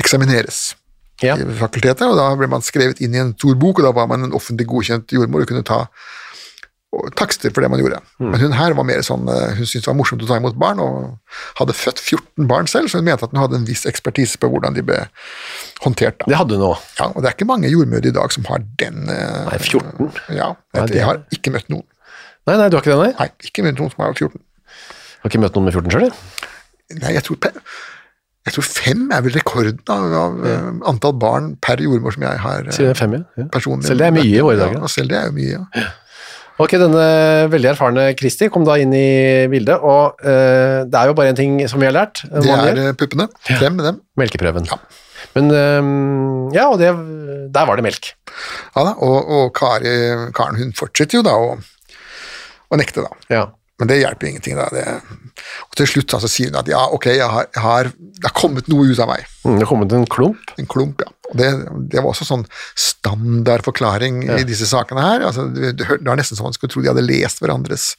Speaker 3: eksamineres
Speaker 2: Ja.
Speaker 3: i fakultetet. og Da ble man skrevet inn i en stor bok, og da var man en offentlig godkjent jordmor og kunne ta og takster for det man gjorde.
Speaker 2: Mm.
Speaker 3: Men hun her var mer sånn, eh, hun syntes det var morsomt å ta imot barn, og hadde født 14 barn selv, så hun mente at hun hadde en viss ekspertise på hvordan de ble håndtert. Da.
Speaker 2: Det hadde hun nå.
Speaker 3: Ja, og det er ikke mange jordmødre i dag som har den eh,
Speaker 2: Nei, 14.
Speaker 3: Ja,
Speaker 2: Ja,
Speaker 3: jeg,
Speaker 2: det-
Speaker 3: jeg har ikke møtt noen.
Speaker 2: Nei, nei, du har ikke det, nei?
Speaker 3: Nei, ikke møtt noen som har hatt 14.
Speaker 2: Har ikke møtt noen med 14 sjøl, jeg.
Speaker 3: Nei, jeg tror, pe- jeg tror fem er vel rekorden av, av eh, antall barn per jordmor som jeg har eh,
Speaker 2: Sier jeg fem, ja. ja.
Speaker 3: personlig.
Speaker 2: Selv det er mye i våre dager.
Speaker 3: Ja, altså. selv det er jo mye, ja.
Speaker 2: Ok, denne veldig erfarne Kristi kom da inn i bildet, og eh, det er jo bare en ting som vi har lært. eh,
Speaker 3: Det
Speaker 2: hva man
Speaker 3: er
Speaker 2: gjør.
Speaker 3: eh, puppene. Frem med dem.
Speaker 2: Melkeprøven.
Speaker 3: Ja.
Speaker 2: Men eh, ja, og det, der var det melk.
Speaker 3: Ja da, og, og Kari, Karen hun fortsetter jo da å, å nekte, da.
Speaker 2: Ja.
Speaker 3: Men det hjelper jo ingenting, da. Det, og til slutt da, så sier hun at ja, ok, jeg har, jeg har, det har kommet noe ut av meg.
Speaker 2: Mm, det kom ut en klump.
Speaker 3: En klump, ja. Og det, det var også sånn standardforklaring i disse sakene her. Altså, det, det hør- det var nesten så man skulle tro de hadde lest hverandres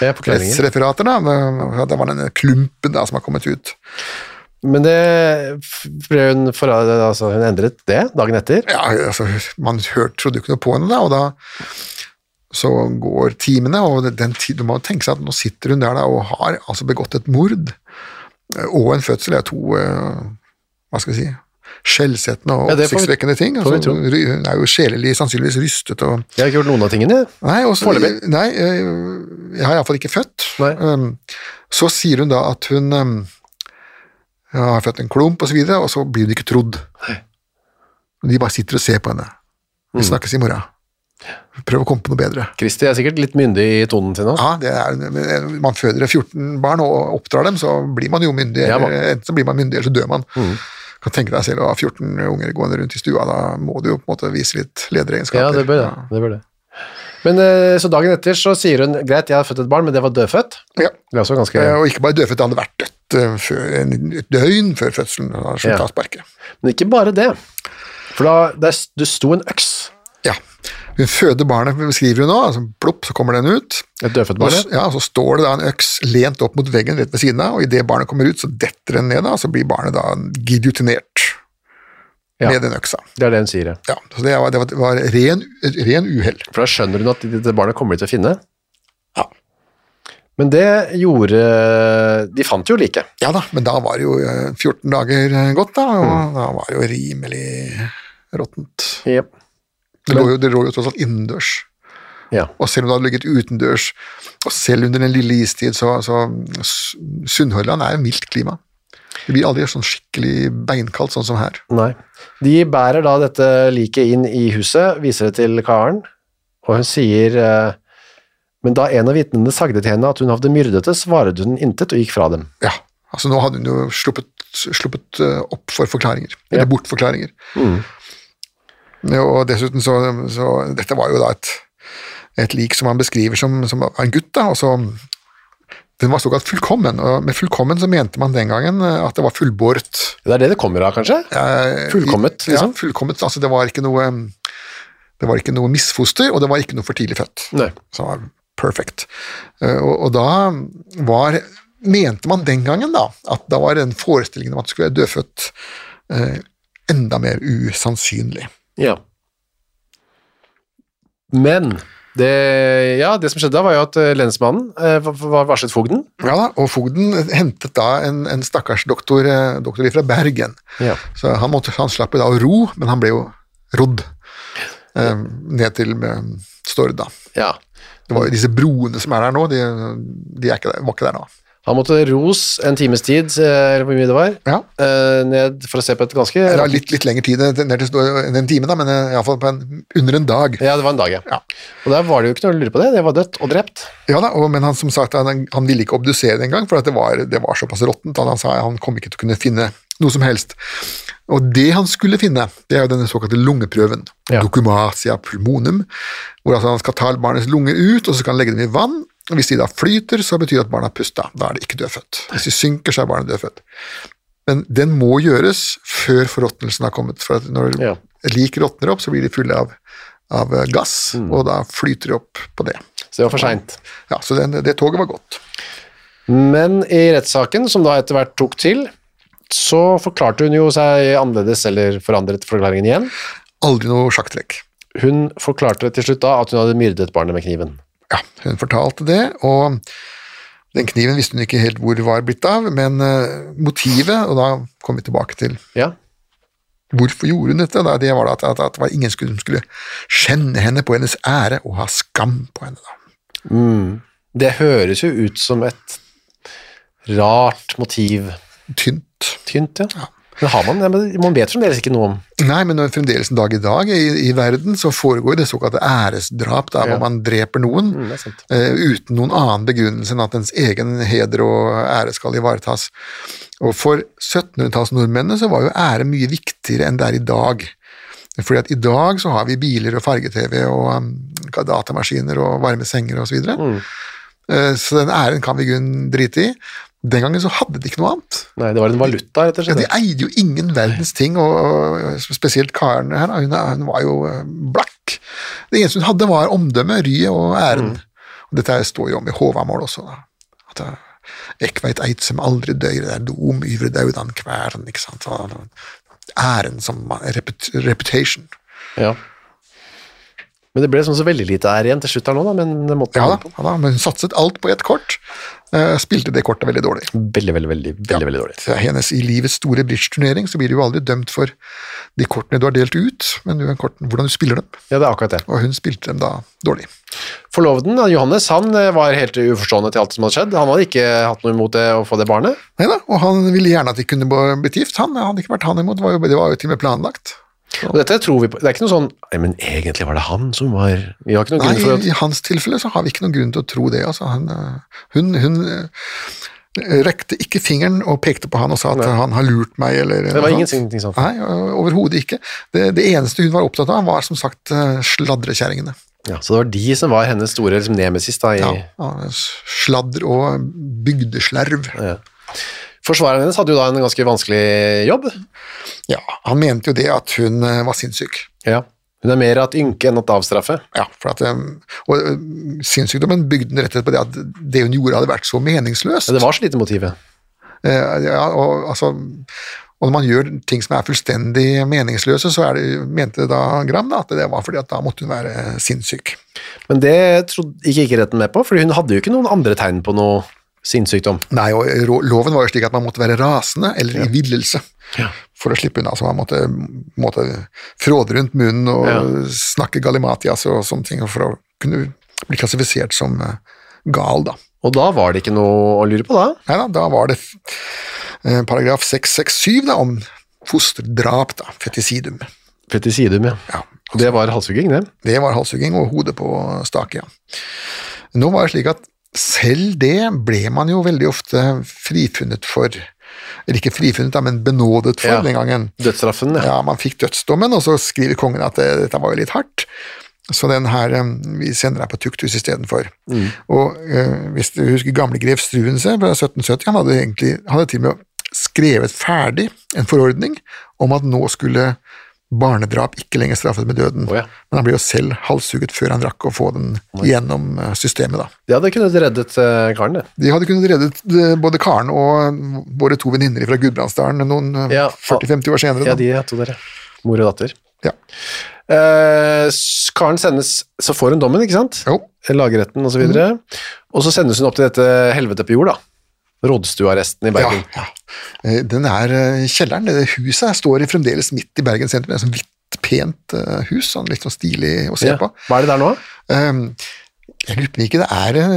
Speaker 2: Det er forklaringen.
Speaker 3: rettsreferater. Da. men at Det var denne klumpen da, som har kommet ut.
Speaker 2: Men det ble hun, for, altså, hun endret det dagen etter.
Speaker 3: Ja, altså, man hørte, trodde jo ikke noe på henne da, og da så går timene, og den tid, du må tenke seg at nå sitter hun der da, og har altså begått et mord, eh, og en fødsel er to, eh, hva skal vi si, skjellsettende og
Speaker 2: Ja, det får vi-
Speaker 3: oppsiktsvekkende ting.
Speaker 2: får vi
Speaker 3: Altså,
Speaker 2: tro.
Speaker 3: hun er jo sjelelig sannsynligvis rystet og
Speaker 2: Jeg har ikke gjort noen av tingene. jeg.
Speaker 3: Nei, også,
Speaker 2: Foreløpig.
Speaker 3: Nei, jeg, jeg har iallfall ikke født.
Speaker 2: Nei.
Speaker 3: Um, så sier hun da at hun um, har født en klump osv., og, så videre, og så blir hun ikke trodd. De bare sitter og ser på henne. Vi
Speaker 2: Mm.
Speaker 3: snakkes i morgen. Prøv å komme på noe bedre.
Speaker 2: Kristi er sikkert litt myndig i tonen sin nå.
Speaker 3: Ja, det er, men Man føder 14 barn og oppdrar dem, så blir man jo myndig.
Speaker 2: Ja, man- Mm.
Speaker 3: Eller, enten så blir man myndig, eller så dør man. Kan tenke deg selv å ha 14 unger gående rundt i stua, da må du jo på en måte vise litt
Speaker 2: Ja,
Speaker 3: lederegenskaper.
Speaker 2: det bør det. det, bør det. Men eh, så dagen etter så sier hun greit, jeg har født et barn, men det var dødfødt.
Speaker 3: Ja.
Speaker 2: Det er også ganske...
Speaker 3: Eh, Og ikke bare dødfødt, det hadde vært dødt eh, før, en, et døgn før fødselen. da
Speaker 2: Ja.
Speaker 3: Som ja.
Speaker 2: Men ikke bare det. For da der, s- det sto en øks.
Speaker 3: ja. Hun føder barnet, skriver hun nå, altså plopp, så kommer den ut.
Speaker 2: Et dødfødt
Speaker 3: Og
Speaker 2: barn.
Speaker 3: s-
Speaker 2: ja.
Speaker 3: ja, så står det da en øks lent opp mot veggen rett ved siden av, og idet barnet kommer ut, så detter den ned, da, så blir barnet da gidiotinert
Speaker 2: Ja.
Speaker 3: med den øksa.
Speaker 2: Det er det hun sier, ja.
Speaker 3: Ja, så det var, det var, det var ren, et ren uhell.
Speaker 2: For da skjønner hun at dette barnet kommer de til å finne.
Speaker 3: Ja.
Speaker 2: Men det gjorde... De fant jo like.
Speaker 3: Ja da, men da var det jo eh, 14 dager eh, gått, da, og
Speaker 2: Mm.
Speaker 3: da var det jo rimelig råttent. Det lå jo, det lå jo tross alt innendørs.
Speaker 2: Ja.
Speaker 3: Og selv om det hadde ligget utendørs, og selv under den lille istid, så, så S- Sunnhordland er jo mildt klima. Det blir aldri sånn skikkelig beinkaldt, sånn som her.
Speaker 2: Nei. De bærer da dette liket inn i huset, viser det til Karen, og hun sier eh, Men da en av vitnene sagde til henne at hun hadde myrdet det, svaret hun intet og gikk fra dem.
Speaker 3: Ja, altså Nå hadde hun jo sluppet, sluppet eh, opp for forklaringer,
Speaker 2: Ja.
Speaker 3: eller bort forklaringer. Ja, Og dessuten så, så Dette var jo da et, et lik som han beskriver som, som var en gutt, da, og så Den var såkalt fullkommen, og med fullkommen så mente man den gangen eh, at det var fullbåret.
Speaker 2: Det er det det kommer av, kanskje?
Speaker 3: Eh,
Speaker 2: Fullkommet,
Speaker 3: i-
Speaker 2: liksom?
Speaker 3: Ja, fullkommet. Altså, det var ikke noe um, det var ikke noe misfoster, og det var ikke noe for tidlig født.
Speaker 2: Nei.
Speaker 3: Så det var perfect. Eh, Og, og da var mente man den gangen da, at da var den forestillingen om at det skulle være dødfødt eh, enda mer usannsynlig.
Speaker 2: Ja. Men Det, ja, det som skjedde da, var jo at eh, lensmannen eh, var- var varslet fogden.
Speaker 3: Ja da, og fogden hentet da en, en stakkars doktor, eh, doktor fra Bergen.
Speaker 2: Ja.
Speaker 3: Så han, måtte, han slapp jo da å ro, men han ble jo rodd eh, ned til eh, Stord, da. Det var jo disse broene som er der nå, de, de er ikke der, var ikke der nå.
Speaker 2: Han måtte ros en times tid, eh, eller hvor mye det var,
Speaker 3: Ja.
Speaker 2: eh, ned for å se på et ganske
Speaker 3: Det var litt, litt lengre tid eh, ned til Stord enn en time, da, men eh, iallfall under en dag.
Speaker 2: Ja, det var en dag, ja.
Speaker 3: Ja.
Speaker 2: Og der var det jo ikke noe å lure på det. Det var dødt og drept.
Speaker 3: Ja da, og, men han som sagt, han, han ville ikke obdusere det engang, for at det var, det var såpass råttent at han sa han kom ikke til å kunne finne noe som helst. Og det han skulle finne, det er jo denne såkalte lungeprøven,
Speaker 2: Ja.
Speaker 3: documatia pulmonum, hvor altså han skal ta barnets lunger ut, og så skal han legge dem i vann, og hvis de da flyter, så betyr det at barna har pusta, da er de ikke dødfødt. Hvis de synker, så er barnet dødfødt. Men den må gjøres før forråtnelsen har kommet, for at når
Speaker 2: Ja.
Speaker 3: lik råtner opp, så blir de fulle av, av gass,
Speaker 2: Mm.
Speaker 3: og da flyter de opp på det.
Speaker 2: Så det var for seint.
Speaker 3: Ja, så den, det toget var gått.
Speaker 2: Men i rettssaken, som da etter hvert tok til, så forklarte hun jo seg annerledes, eller forandret forklaringen igjen.
Speaker 3: Aldri noe sjakktrekk.
Speaker 2: Hun forklarte til slutt da at hun hadde myrdet barnet med kniven.
Speaker 3: Ja, hun fortalte det, og den kniven visste hun ikke helt hvor det var blitt av, men eh, motivet, og da kom vi tilbake til
Speaker 2: Ja,
Speaker 3: hvorfor gjorde hun dette, da, det var da at, at, at det var ingen skulle, som skulle skjenne henne på hennes ære og ha skam på henne. da.
Speaker 2: Det høres jo ut som et rart motiv.
Speaker 3: Tynt.
Speaker 2: Tynt, ja. Men har man, ja, men man vet fremdeles ikke noe om.
Speaker 3: Nei, men når fremdeles en dag i dag i, i verden så foregår det såkalte æresdrap, da, hvor man dreper noen
Speaker 2: Mm, det er sant.
Speaker 3: eh, uten noen annen begrunnelse enn at ens egen heder og ære skal ivaretas. Og for 1700-tallsnordmennene så var jo ære mye viktigere enn det er i dag. Fordi at i dag så har vi biler og farge-TV og um, datamaskiner og varme senger osv. Så, videre.
Speaker 2: Mm.
Speaker 3: Eh, så den æren kan vi i grunnen drite i. Den gangen så hadde de ikke noe annet.
Speaker 2: Nei, det var en valuta, rett og
Speaker 3: Ja,
Speaker 2: slett.
Speaker 3: de eide jo ingen verdens ting, og, og spesielt Karen her, hun, er- hun var jo eh, blakk. Det eneste hun hadde var omdømme, ryet og æren. Og dette her står jo om i Håvamål også. da. At eh, Ek veit eit som aldri døyr, det er dom yvre daudan kværen. ikke sant? Og Æren som man- reput reputation.
Speaker 2: Ja. Men det ble sånn så veldig lite ære igjen til slutt her nå, da, men det måtte
Speaker 3: Ja da,
Speaker 2: man på.
Speaker 3: ja da, men hun satset alt på ett kort. Eh, Spilte det kortet veldig dårlig.
Speaker 2: Veldig, veldig, veldig, veldig, veldig dårlig.
Speaker 3: Så hennes I livets store bridge-turnering så blir du jo aldri dømt for de kortene du har delt ut, men du er korten, hvordan du spiller dem.
Speaker 2: Ja, det er akkurat det.
Speaker 3: og hun spilte dem da dårlig.
Speaker 2: Forloveden, da, Johannes, han eh, var helt uforstående til alt som hadde skjedd. Han hadde ikke hatt noe imot det å få det barnet.
Speaker 3: Neida, og han ville gjerne at de kunne blitt gift, han hadde ikke vært han imot, det var jo, det var jo til og med planlagt.
Speaker 2: Og dette tror vi på. Det er ikke noe sånn Nei, men egentlig var det han som var Vi har ikke noen
Speaker 3: Nei,
Speaker 2: grunn for at
Speaker 3: i, I hans tilfelle så har vi ikke noen grunn til å tro det. Altså. Han, øh, hun hun øh, rekte ikke fingeren og pekte på han og sa at han har lurt meg, eller
Speaker 2: Det var
Speaker 3: noe
Speaker 2: ingenting sånt.
Speaker 3: Nei, øh, overhodet ikke. Det, det eneste hun var opptatt av, var som sagt øh, sladrekjerringene.
Speaker 2: Ja, så det var de som var hennes store liksom, nemesis da, i
Speaker 3: Ja, ja, sladder og bygdeslerv.
Speaker 2: Forsvareren hennes hadde jo da en ganske vanskelig jobb.
Speaker 3: Ja, han mente jo det at hun øh, var sinnssyk.
Speaker 2: Ja. Hun er mer at ynke enn at avstraffe.
Speaker 3: Ja, for at, um, og um, sinnssykdommen bygde den rett og slett på det at det hun gjorde hadde vært så meningsløst.
Speaker 2: Ja, det var så lite motivet.
Speaker 3: Eh, ja, og, altså, og når man gjør ting som er fullstendig meningsløse, så er det, mente da Gram da, at det var fordi at da måtte hun være eh, sinnssyk.
Speaker 2: Men det trodde, gikk ikke retten med på, for hun hadde jo ikke noen andre tegn på noe sinnssykdom.
Speaker 3: Nei, og eh, ro- loven var jo slik at man måtte være rasende eller i villelse. For å slippe unna, så man måtte, måtte fråde rundt munnen og snakke galimatias og sånne ting for å kunne bli klassifisert som eh, gal, da.
Speaker 2: Og da var det ikke noe å lure på, da.
Speaker 3: Nei da, da var det eh, paragraf 667 da, om fosterdrap, da, fetisidum.
Speaker 2: Fetisidum, ja.
Speaker 3: Ja,
Speaker 2: Det var halshugging, det.
Speaker 3: det var halshugging og hodet på stake, ja. Nå var det slik at selv det ble man jo veldig ofte frifunnet for, eller ikke frifunnet, da, men benådet for
Speaker 2: Ja.
Speaker 3: den gangen.
Speaker 2: Dødsstraffen, ja.
Speaker 3: Ja, man fikk dødsdommen, og så skriver kongen at eh, dette var jo litt hardt. Så den her eh, vi sender deg på tukthus istedenfor.
Speaker 2: Mm.
Speaker 3: Og eh, hvis du husker gamle grev Struense fra 1770, han hadde, egentlig, han hadde til og med skrevet ferdig en forordning om at nå skulle barnedrap ikke lenger straffes med døden.
Speaker 2: Å ja.
Speaker 3: Men han ble jo selv halshugget før han rakk å få den gjennom eh, systemet, da.
Speaker 2: Det hadde kunnet reddet eh, karen, det.
Speaker 3: De hadde kunnet reddet eh, både Karen og våre to venninner fra Gudbrandsdalen noen eh,
Speaker 2: Ja,
Speaker 3: 40-50 år senere.
Speaker 2: Ja,
Speaker 3: da.
Speaker 2: de to der, ja. Mor og datter.
Speaker 3: Ja.
Speaker 2: Eh, s- Karen sendes, så får hun dommen, ikke sant?
Speaker 3: Jo. Mhm.
Speaker 2: Lagretten og så videre. Og så sendes hun opp til dette helvete på jord, da. Rådstuearresten i
Speaker 3: Ja,
Speaker 2: Bergen.
Speaker 3: ja. Eh, Den er eh, kjelleren, det huset her står fremdeles midt i Bergen sentrum. Det er sånn hvitt, pent eh, hus, sånn litt sånn stilig å se
Speaker 2: Ja.
Speaker 3: på.
Speaker 2: Hva er det der nå?
Speaker 3: Ehm, Jeg lurer på om ikke det er eh,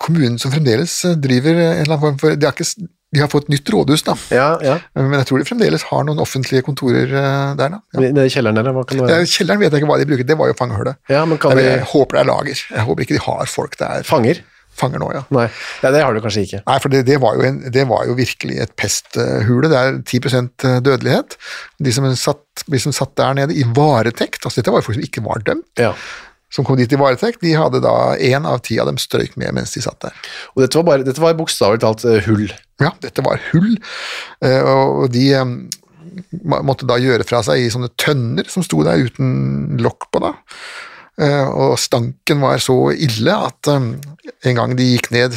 Speaker 3: kommunen som fremdeles eh, driver eh, en eller annen form for De har, ikke, s- de har fått nytt rådhus, da,
Speaker 2: Ja, ja.
Speaker 3: Eh, men jeg tror de fremdeles har noen offentlige kontorer eh, der. da. Ja.
Speaker 2: Nede i kjelleren der, hva kan det
Speaker 3: Eh,
Speaker 2: være?
Speaker 3: Kjelleren vet jeg ikke hva de bruker, det var jo fangehullet.
Speaker 2: Ja, men kan
Speaker 3: jeg,
Speaker 2: de-
Speaker 3: jeg håper det er lager. Jeg håper ikke de har folk der.
Speaker 2: Fanger?
Speaker 3: Fanger nå, ja.
Speaker 2: Nei, ja, det har du kanskje ikke.
Speaker 3: Nei, for det, det, var jo en, det var jo virkelig et pesthule. Det er 10 dødelighet. De som, satt, de som satt der nede i varetekt, altså dette var jo folk som ikke var dømt,
Speaker 2: Ja.
Speaker 3: som kom dit i varetekt, de hadde da én av ti av dem strøyk med mens de satt der.
Speaker 2: Og dette var, bare, dette var bokstavelig talt eh, hull.
Speaker 3: Ja, dette var hull, eh, og og de eh, må- måtte da gjøre fra seg i sånne tønner som sto der uten lokk på, da. Eh, Og stanken var så ille at eh, en gang de gikk ned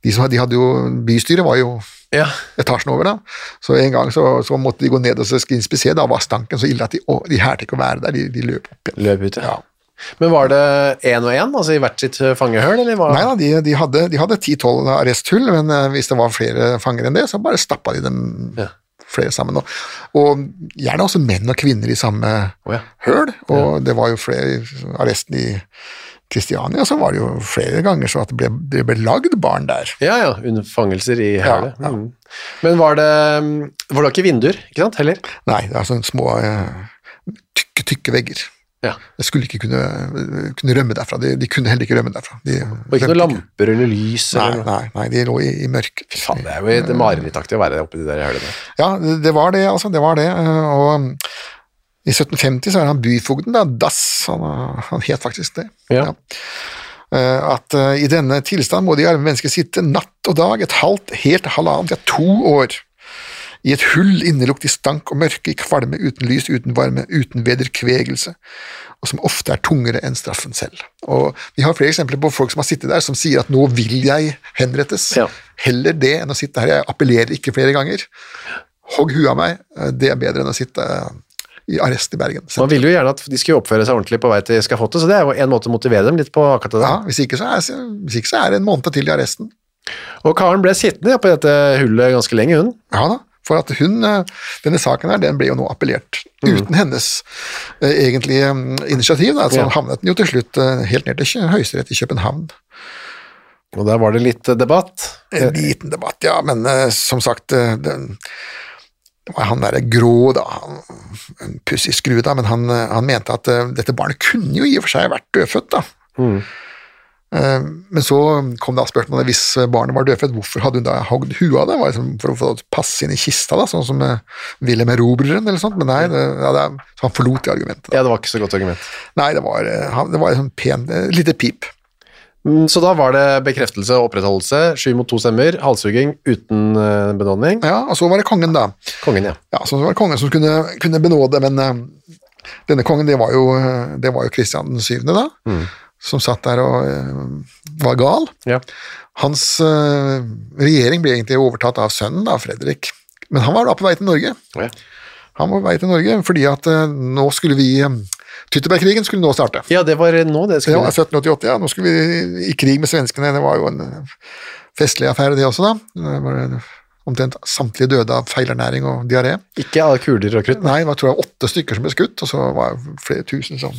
Speaker 3: de, som, de hadde jo, Bystyret var jo
Speaker 2: Ja.
Speaker 3: etasjen over. da. Så en gang så, så måtte de gå ned og så skulle inspisere. Da var stanken så ille at de, å, de hærte ikke å være der, de, de løp opp igjen.
Speaker 2: Løp ut, ja.
Speaker 3: Ja.
Speaker 2: Men var det én og én, altså i hvert sitt eh, fangehøl, eller hva?
Speaker 3: Nei da, de, de hadde, de hadde 10-12 arresthull, men eh, hvis det var flere fanger enn det, så bare stappa de dem
Speaker 2: Ja.
Speaker 3: flere sammen. Og, og gjerne også menn og kvinner i samme
Speaker 2: Å, ja.
Speaker 3: høl, og det var jo flere arresten i Kristiania, så var det jo flere ganger så at det ble, det ble lagd barn der.
Speaker 2: Ja, ja, under fangelser i hølet.
Speaker 3: Ja, ja.
Speaker 2: Mm. Men var det, mm, var det ikke vinduer, ikke sant, heller?
Speaker 3: Nei, det er sånne små eh, tykke, tykke vegger.
Speaker 2: Ja.
Speaker 3: Jeg skulle ikke kunne, kunne rømme derfra. De, de kunne heller ikke rømme derfra. De
Speaker 2: Og ikke noen
Speaker 3: rømte
Speaker 2: lamper eller lys?
Speaker 3: Nei,
Speaker 2: eller noe.
Speaker 3: nei, nei, de lå i, i mørket.
Speaker 2: Faen, det er jo et marerittaktig å være oppi de der hølene.
Speaker 3: Ja, det det var det, altså. Det var det. eh, Og um, i 1750 så er han byfogden, da. Dass. Han, eh, han het faktisk det.
Speaker 2: Ja.
Speaker 3: Eh, At eh, i denne tilstand må de arme mennesker sitte natt og dag, et halvt, helt halvannet, ja, to år. I et hull innelukt i stank og mørke, i kvalme, uten lys, uten varme, uten vederkvegelse, og som ofte er tungere enn straffen selv. Og Vi har flere eksempler på folk som har sittet der, som sier at 'nå vil jeg henrettes'.
Speaker 2: Ja.
Speaker 3: Heller det enn å sitte her. Jeg appellerer ikke flere ganger. Hogg huet av meg. Eh, Det er bedre enn å sitte eh, i arrest i Bergen.
Speaker 2: Man ville jo gjerne at de skulle oppføre seg ordentlig på vei til skafottet, så det er jo en måte å motivere dem litt på akkurat det.
Speaker 3: Ja,
Speaker 2: der.
Speaker 3: hvis, ikke så er, hvis ikke så er det en måned til i arresten.
Speaker 2: Og Karen ble sittende ja, på dette hullet ganske lenge, hun.
Speaker 3: Ja da, for at hun, eh, denne saken her, den ble jo nå appellert uten hennes eh, egentlige mm, initiativ. Da, så
Speaker 2: Ja.
Speaker 3: havnet den jo til slutt eh, helt ned til Kjø- Høyesterett i København.
Speaker 2: Og der var det litt eh, debatt.
Speaker 3: En liten debatt, ja, men eh, som sagt eh, den, det var han derre grå, da, han- en pussig skrue, da, men han, eh, han mente at eh, dette barnet kunne jo i og for seg vært dødfødt, da. Eh, Men så kom da spørsmålet hvis barnet var dødfødt, hvorfor hadde hun da hogd huet av det? Var det liksom for å få det til å passe inn i kista, da, sånn som eh, Wilhelm Erobreren eller sånt? Men nei, det, ja, det, er- så han forlot det argumentet.
Speaker 2: Ja, det var ikke så godt argument.
Speaker 3: Nei, det var, eh, han- det var et sånn pen, eh, lite pip.
Speaker 2: Mm, Så da var det bekreftelse og opprettholdelse, sju mot to stemmer, halshugging uten eh, benådning.
Speaker 3: Ja, og så var det kongen, da.
Speaker 2: Kongen, ja.
Speaker 3: Ja, så det var kongen som kunne, kunne benåde, men eh, denne kongen, det var jo, eh, det var jo Kristian den syvende, da, som satt der og eh, var gal.
Speaker 2: ja.
Speaker 3: Hans eh, regjering ble egentlig overtatt av sønnen, da, Fredrik. Men han var da på vei til Norge.
Speaker 2: Å, ja.
Speaker 3: Han var på vei til Norge fordi at eh, nå skulle vi eh, Tyttebergkrigen skulle nå starte.
Speaker 2: Ja, det var nå det
Speaker 3: Det
Speaker 2: skulle
Speaker 3: var 1788, ja. Nå skulle vi i krig med svenskene. Det var jo en eh, festlig affære, det også, da. Det var eh, omtrent samtlige døde av feilernæring og diaré.
Speaker 2: Ikke av kuler og krutt.
Speaker 3: Nei, det var tror jeg åtte stykker som ble skutt, og så var det flere tusen som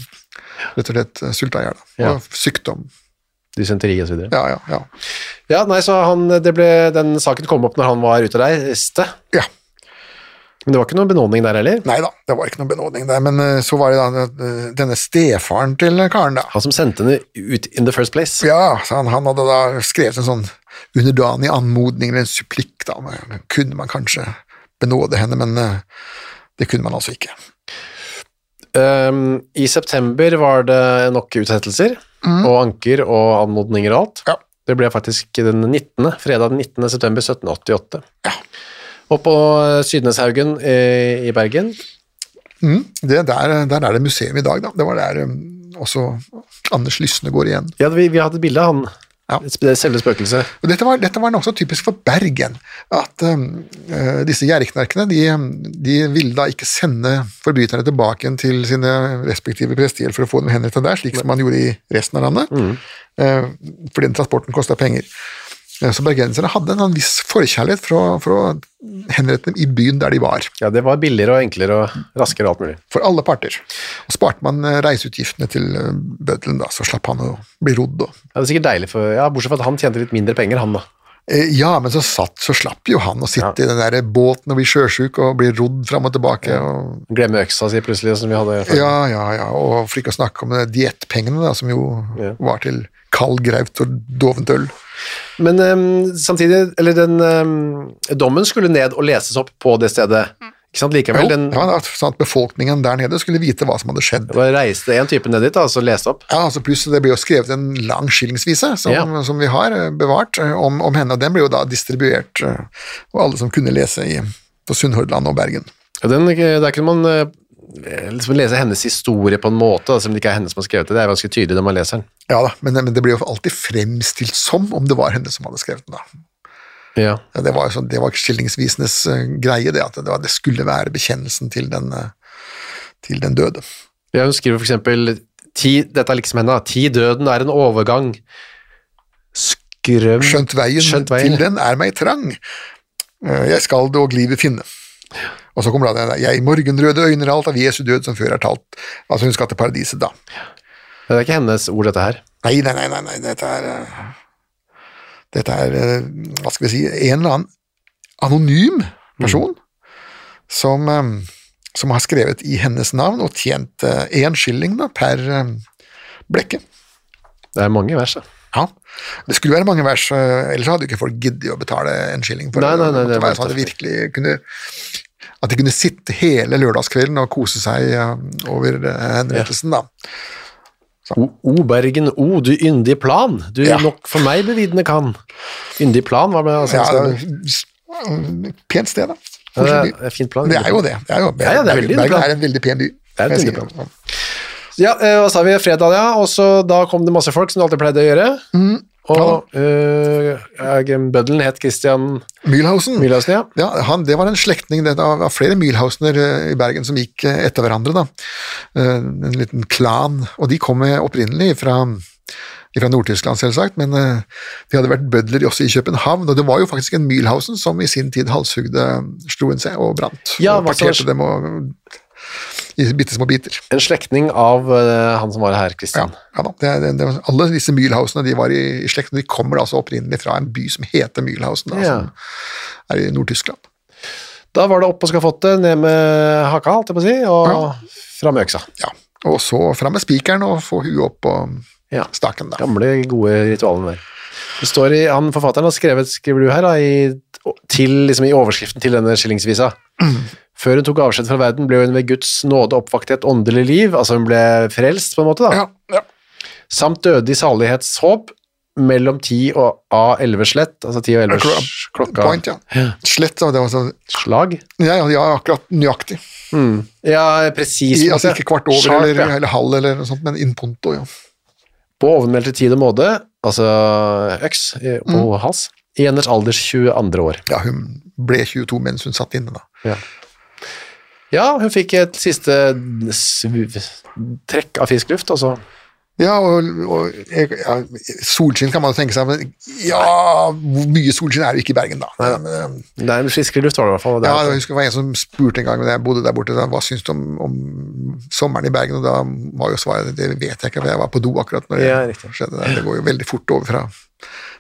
Speaker 3: rett og slett eh, sulta i hjel. da.
Speaker 2: Ja.
Speaker 3: Og Sykdom.
Speaker 2: Dysenteri og så videre.
Speaker 3: Ja, ja, ja.
Speaker 2: Ja, nei, så han, det ble, den saken kom opp når han var ute og reiste.
Speaker 3: Ja.
Speaker 2: Men det var ikke noen benådning der heller.
Speaker 3: Nei da, det var ikke noen benådning der, men eh, så var det da eh, denne stefaren til Karen, da.
Speaker 2: Han som sendte henne ut in the first place.
Speaker 3: Ja, så han, han hadde da skrevet en sånn underdanig anmodning, eller en supplikk, da. Men Kunne man kanskje benåde henne, men eh, det kunne man altså ikke.
Speaker 2: Ehm, I september var det nok utsettelser,
Speaker 3: Mm.
Speaker 2: og anker og anmodninger og alt.
Speaker 3: Ja.
Speaker 2: Det ble faktisk den 19., fredag den 19. september 1788.
Speaker 3: Ja.
Speaker 2: Og på Sydneshaugen eh, i Bergen.
Speaker 3: Mm, det, der, der er det museum i dag, da. Det var der eh, også Anders Lysne går igjen.
Speaker 2: Ja, vi, vi hadde et bilde av han.
Speaker 3: Ja.
Speaker 2: Det selve spøkelset.
Speaker 3: Og Dette var, dette var nokså typisk for Bergen, at øhm, øh, disse gjerriknerkene de, um, de ville da ikke sende forbryterne tilbake igjen til sine respektive prestier for å få dem henrettet der, slik som man gjorde i resten av landet, eh, fordi den transporten kosta penger. Eh, Så bergenserne hadde en viss forkjærlighet for å, for å henrette dem i byen der de var,
Speaker 2: Ja, det var billigere og enklere og raskere og alt mulig.
Speaker 3: for alle parter. Og sparte man eh, reiseutgiftene til eh, bøddelen, da, så slapp han å bli rodd og
Speaker 2: Ja, det er sikkert deilig for Ja, bortsett fra at han tjente litt mindre penger, han da.
Speaker 3: Eh, Ja, men så, satt, så slapp jo han å sitte i den der båten og bli sjøsjuk og bli rodd fram og tilbake. Og,
Speaker 2: Glemme øksa si plutselig, som vi hadde før.
Speaker 3: ja, ja, ja, og for ikke å snakke om de diettpengene, da, som jo
Speaker 2: Ja.
Speaker 3: var til kald graut og dovent øl.
Speaker 2: Men ehm, samtidig, eller den ehm, dommen skulle ned og leses opp på det stedet. Ikke sant,
Speaker 3: Jo,
Speaker 2: likevel. Den,
Speaker 3: ja, da, sånn at befolkningen der nede skulle vite hva som hadde skjedd.
Speaker 2: Da reiste en type ned dit da, og så leste opp.
Speaker 3: Ja, altså Pluss det ble jo skrevet en lang skillingsvise som,
Speaker 2: Ja.
Speaker 3: som vi har eh, bevart eh, om, om henne, og den ble jo da distribuert, eh, og alle som kunne lese i, på Sunnhordland og Bergen.
Speaker 2: Og Den, der kunne man eh, liksom lese hennes historie på en måte, da, selv om det ikke er henne som har skrevet det. Det er ganske tydelig når man leser den.
Speaker 3: Ja da, men, men det ble jo alltid fremstilt som om det var henne som hadde skrevet den. da.
Speaker 2: Ja.
Speaker 3: Ja, det var, jo sånn, det var skillingsvisenes eh, greie, det at det, var, det skulle være bekjennelsen til den, eh, til den døde.
Speaker 2: Ja, hun skriver for eksempel ti, Dette er liksom henne, da. Ti døden er en overgang. Skrøm
Speaker 3: Skjønt veien,
Speaker 2: Skjønt veien,
Speaker 3: til
Speaker 2: ja.
Speaker 3: den er meg trang, Eh, jeg skal dog livet finne. Og så kommer da den der, jeg morgenrøde øyner alt av Jesu død som før er talt. Altså hun skal til paradiset da.
Speaker 2: Det er ikke hennes ord, dette her.
Speaker 3: Nei, nei, nei, nei, nei dette er eh, Dette er, eh, hva skal vi si, en eller annen anonym
Speaker 2: Mm.
Speaker 3: person som, eh, som har skrevet i hennes navn og tjent eh, én skilling da, per eh, blekke.
Speaker 2: Det er mange vers, da.
Speaker 3: Ja. Det skulle være mange vers, eh, ellers hadde jo ikke folk giddet å betale en skilling for
Speaker 2: Nei, nei, nei, det
Speaker 3: det. måtte
Speaker 2: var
Speaker 3: være sånn at de
Speaker 2: derfor.
Speaker 3: virkelig kunne at de kunne sitte hele lørdagskvelden og kose seg eh, over eh, henrettelsen, da.
Speaker 2: O, o Bergen, o du yndig plan, du
Speaker 3: Ja.
Speaker 2: nok for meg bevidne kan. Yndig plan, hva med altså,
Speaker 3: Ja,
Speaker 2: ja, det,
Speaker 3: det er pent sted, da.
Speaker 2: er-
Speaker 3: Koselig by.
Speaker 2: det er fint plan.
Speaker 3: Det er jo det. det, er jo,
Speaker 2: Ja, ja, det er veldig
Speaker 3: Bergen
Speaker 2: plan.
Speaker 3: er en veldig pen by.
Speaker 2: Det er et
Speaker 3: Jeg
Speaker 2: veldig
Speaker 3: sier
Speaker 2: plan. Ja, eh, hva sa vi? Fredag, ja. Og så da kom det masse folk, som det alltid pleide å gjøre.
Speaker 3: Mm.
Speaker 2: Og eh, bøddelen het Christian
Speaker 3: Mühlhausen.
Speaker 2: Mühlhausen, ja.
Speaker 3: Ja, han, det var en slektning det, av, av flere Mühlhausener eh, i Bergen som gikk eh, etter hverandre. da. Eh, En liten klan. Og de kom eh, opprinnelig fra fra Nord-Tyskland, selvsagt, men eh, de hadde vært bødler også i København. Og det var jo faktisk en Mühlhausen som i sin tid halshugde eh, Struensee og brant.
Speaker 2: Ja,
Speaker 3: og
Speaker 2: hva sa-
Speaker 3: parterte dem og, i bitte små biter.
Speaker 2: En slektning av eh, han som var her, Christian.
Speaker 3: Ja, ja da. Det, er- det, det, var- alle disse Mühlhausene de var i, i slekt, og de kommer da altså opprinnelig fra en by som heter Mühlhausen, da,
Speaker 2: Ja.
Speaker 3: som er i Nord-Tyskland.
Speaker 2: Da var det opp og skafottet, ned med haka, holdt jeg på å si, og
Speaker 3: Ja.
Speaker 2: fram med øksa.
Speaker 3: Ja. Og så fram med spikeren og få huet opp på
Speaker 2: Ja.
Speaker 3: staken, da.
Speaker 2: Gamle, gode ritualene der. Det står i, han Forfatteren har skrevet skriver du her, da, i, til, liksom, i overskriften til denne skillingsvisa. Før hun tok avskjed fra verden, ble hun ved Guds nåde oppvakt i et åndelig liv. Altså hun ble frelst, på en måte. da.
Speaker 3: Ja, ja.
Speaker 2: samt døde i salighetshåp mellom 10 og A11 slett, altså 10 og 11
Speaker 3: Klo-
Speaker 2: klokka
Speaker 3: Point, ja. Slett, ja, det var sånn
Speaker 2: slag. Mm.
Speaker 3: Ja, ja, ja, akkurat nøyaktig.
Speaker 2: Ja, presis.
Speaker 3: I,
Speaker 2: måte.
Speaker 3: altså ikke kvart over
Speaker 2: Sharp,
Speaker 3: eller,
Speaker 2: ja.
Speaker 3: eller halv eller noe sånt, men in punto, ja.
Speaker 2: På ovenmeldte tid og måte, altså øks eh, på
Speaker 3: Mm.
Speaker 2: hals, i hennes alders 22. år.
Speaker 3: Ja, hun ble 22 mens hun satt inne, da.
Speaker 2: Ja. ja, hun fikk et siste sv- trekk av altså. frisk luft, og så
Speaker 3: Ja, og, og jeg- ja, solskinn kan man jo tenke seg, men ja, hvor mye solskinn er det ikke i Bergen, da? Men, eh,
Speaker 2: Det er en friskere luft, var det i hvert fall. og Det
Speaker 3: Ja,
Speaker 2: er- altså-
Speaker 3: jeg husker det var en som spurte en gang da jeg bodde der borte, da, hva syns du om, om sommeren i Bergen, og da var jo svaret det vet jeg ikke, for jeg var på do akkurat når det
Speaker 2: Ja, riktig.
Speaker 3: skjedde der. Det går jo veldig fort over fra,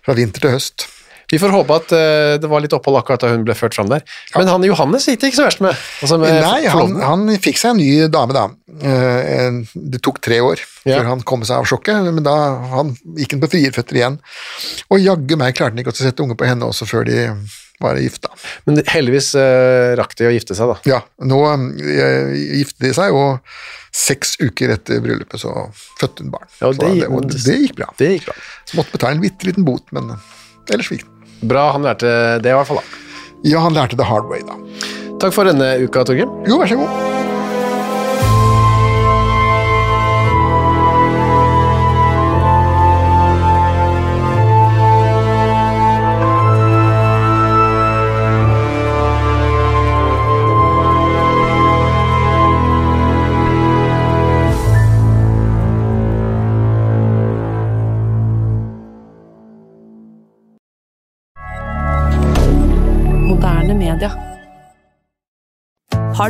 Speaker 3: fra vinter til høst.
Speaker 2: Vi får håpe at eh, det var litt opphold akkurat da hun ble ført fram der. Men han Johannes gikk det ikke så verst med. Altså med
Speaker 3: Nei, han,
Speaker 2: forloveden.
Speaker 3: han fikk seg en ny dame, da. Eh, en- Det tok tre år
Speaker 2: Ja.
Speaker 3: før han kom seg av sjokket, men da han, gikk han på frierføtter igjen. Og jaggu meg klarte han ikke å sette unge på henne også før de var gifta.
Speaker 2: Men heldigvis eh, rakk de å gifte seg, da.
Speaker 3: Ja, nå eh, giftet de seg, og seks uker etter bryllupet så fødte hun barn.
Speaker 2: Ja, og
Speaker 3: Så
Speaker 2: det-
Speaker 3: og det gikk bra.
Speaker 2: Det gikk bra.
Speaker 3: Så måtte betale en bitte liten bot, men ellers gikk det.
Speaker 2: Bra han lærte det, i hvert fall. da.
Speaker 3: Ja, han lærte det hard way, da.
Speaker 2: Takk for denne uka, Torgrim.
Speaker 3: Jo, vær så god.
Speaker 4: moderne media.
Speaker 5: Har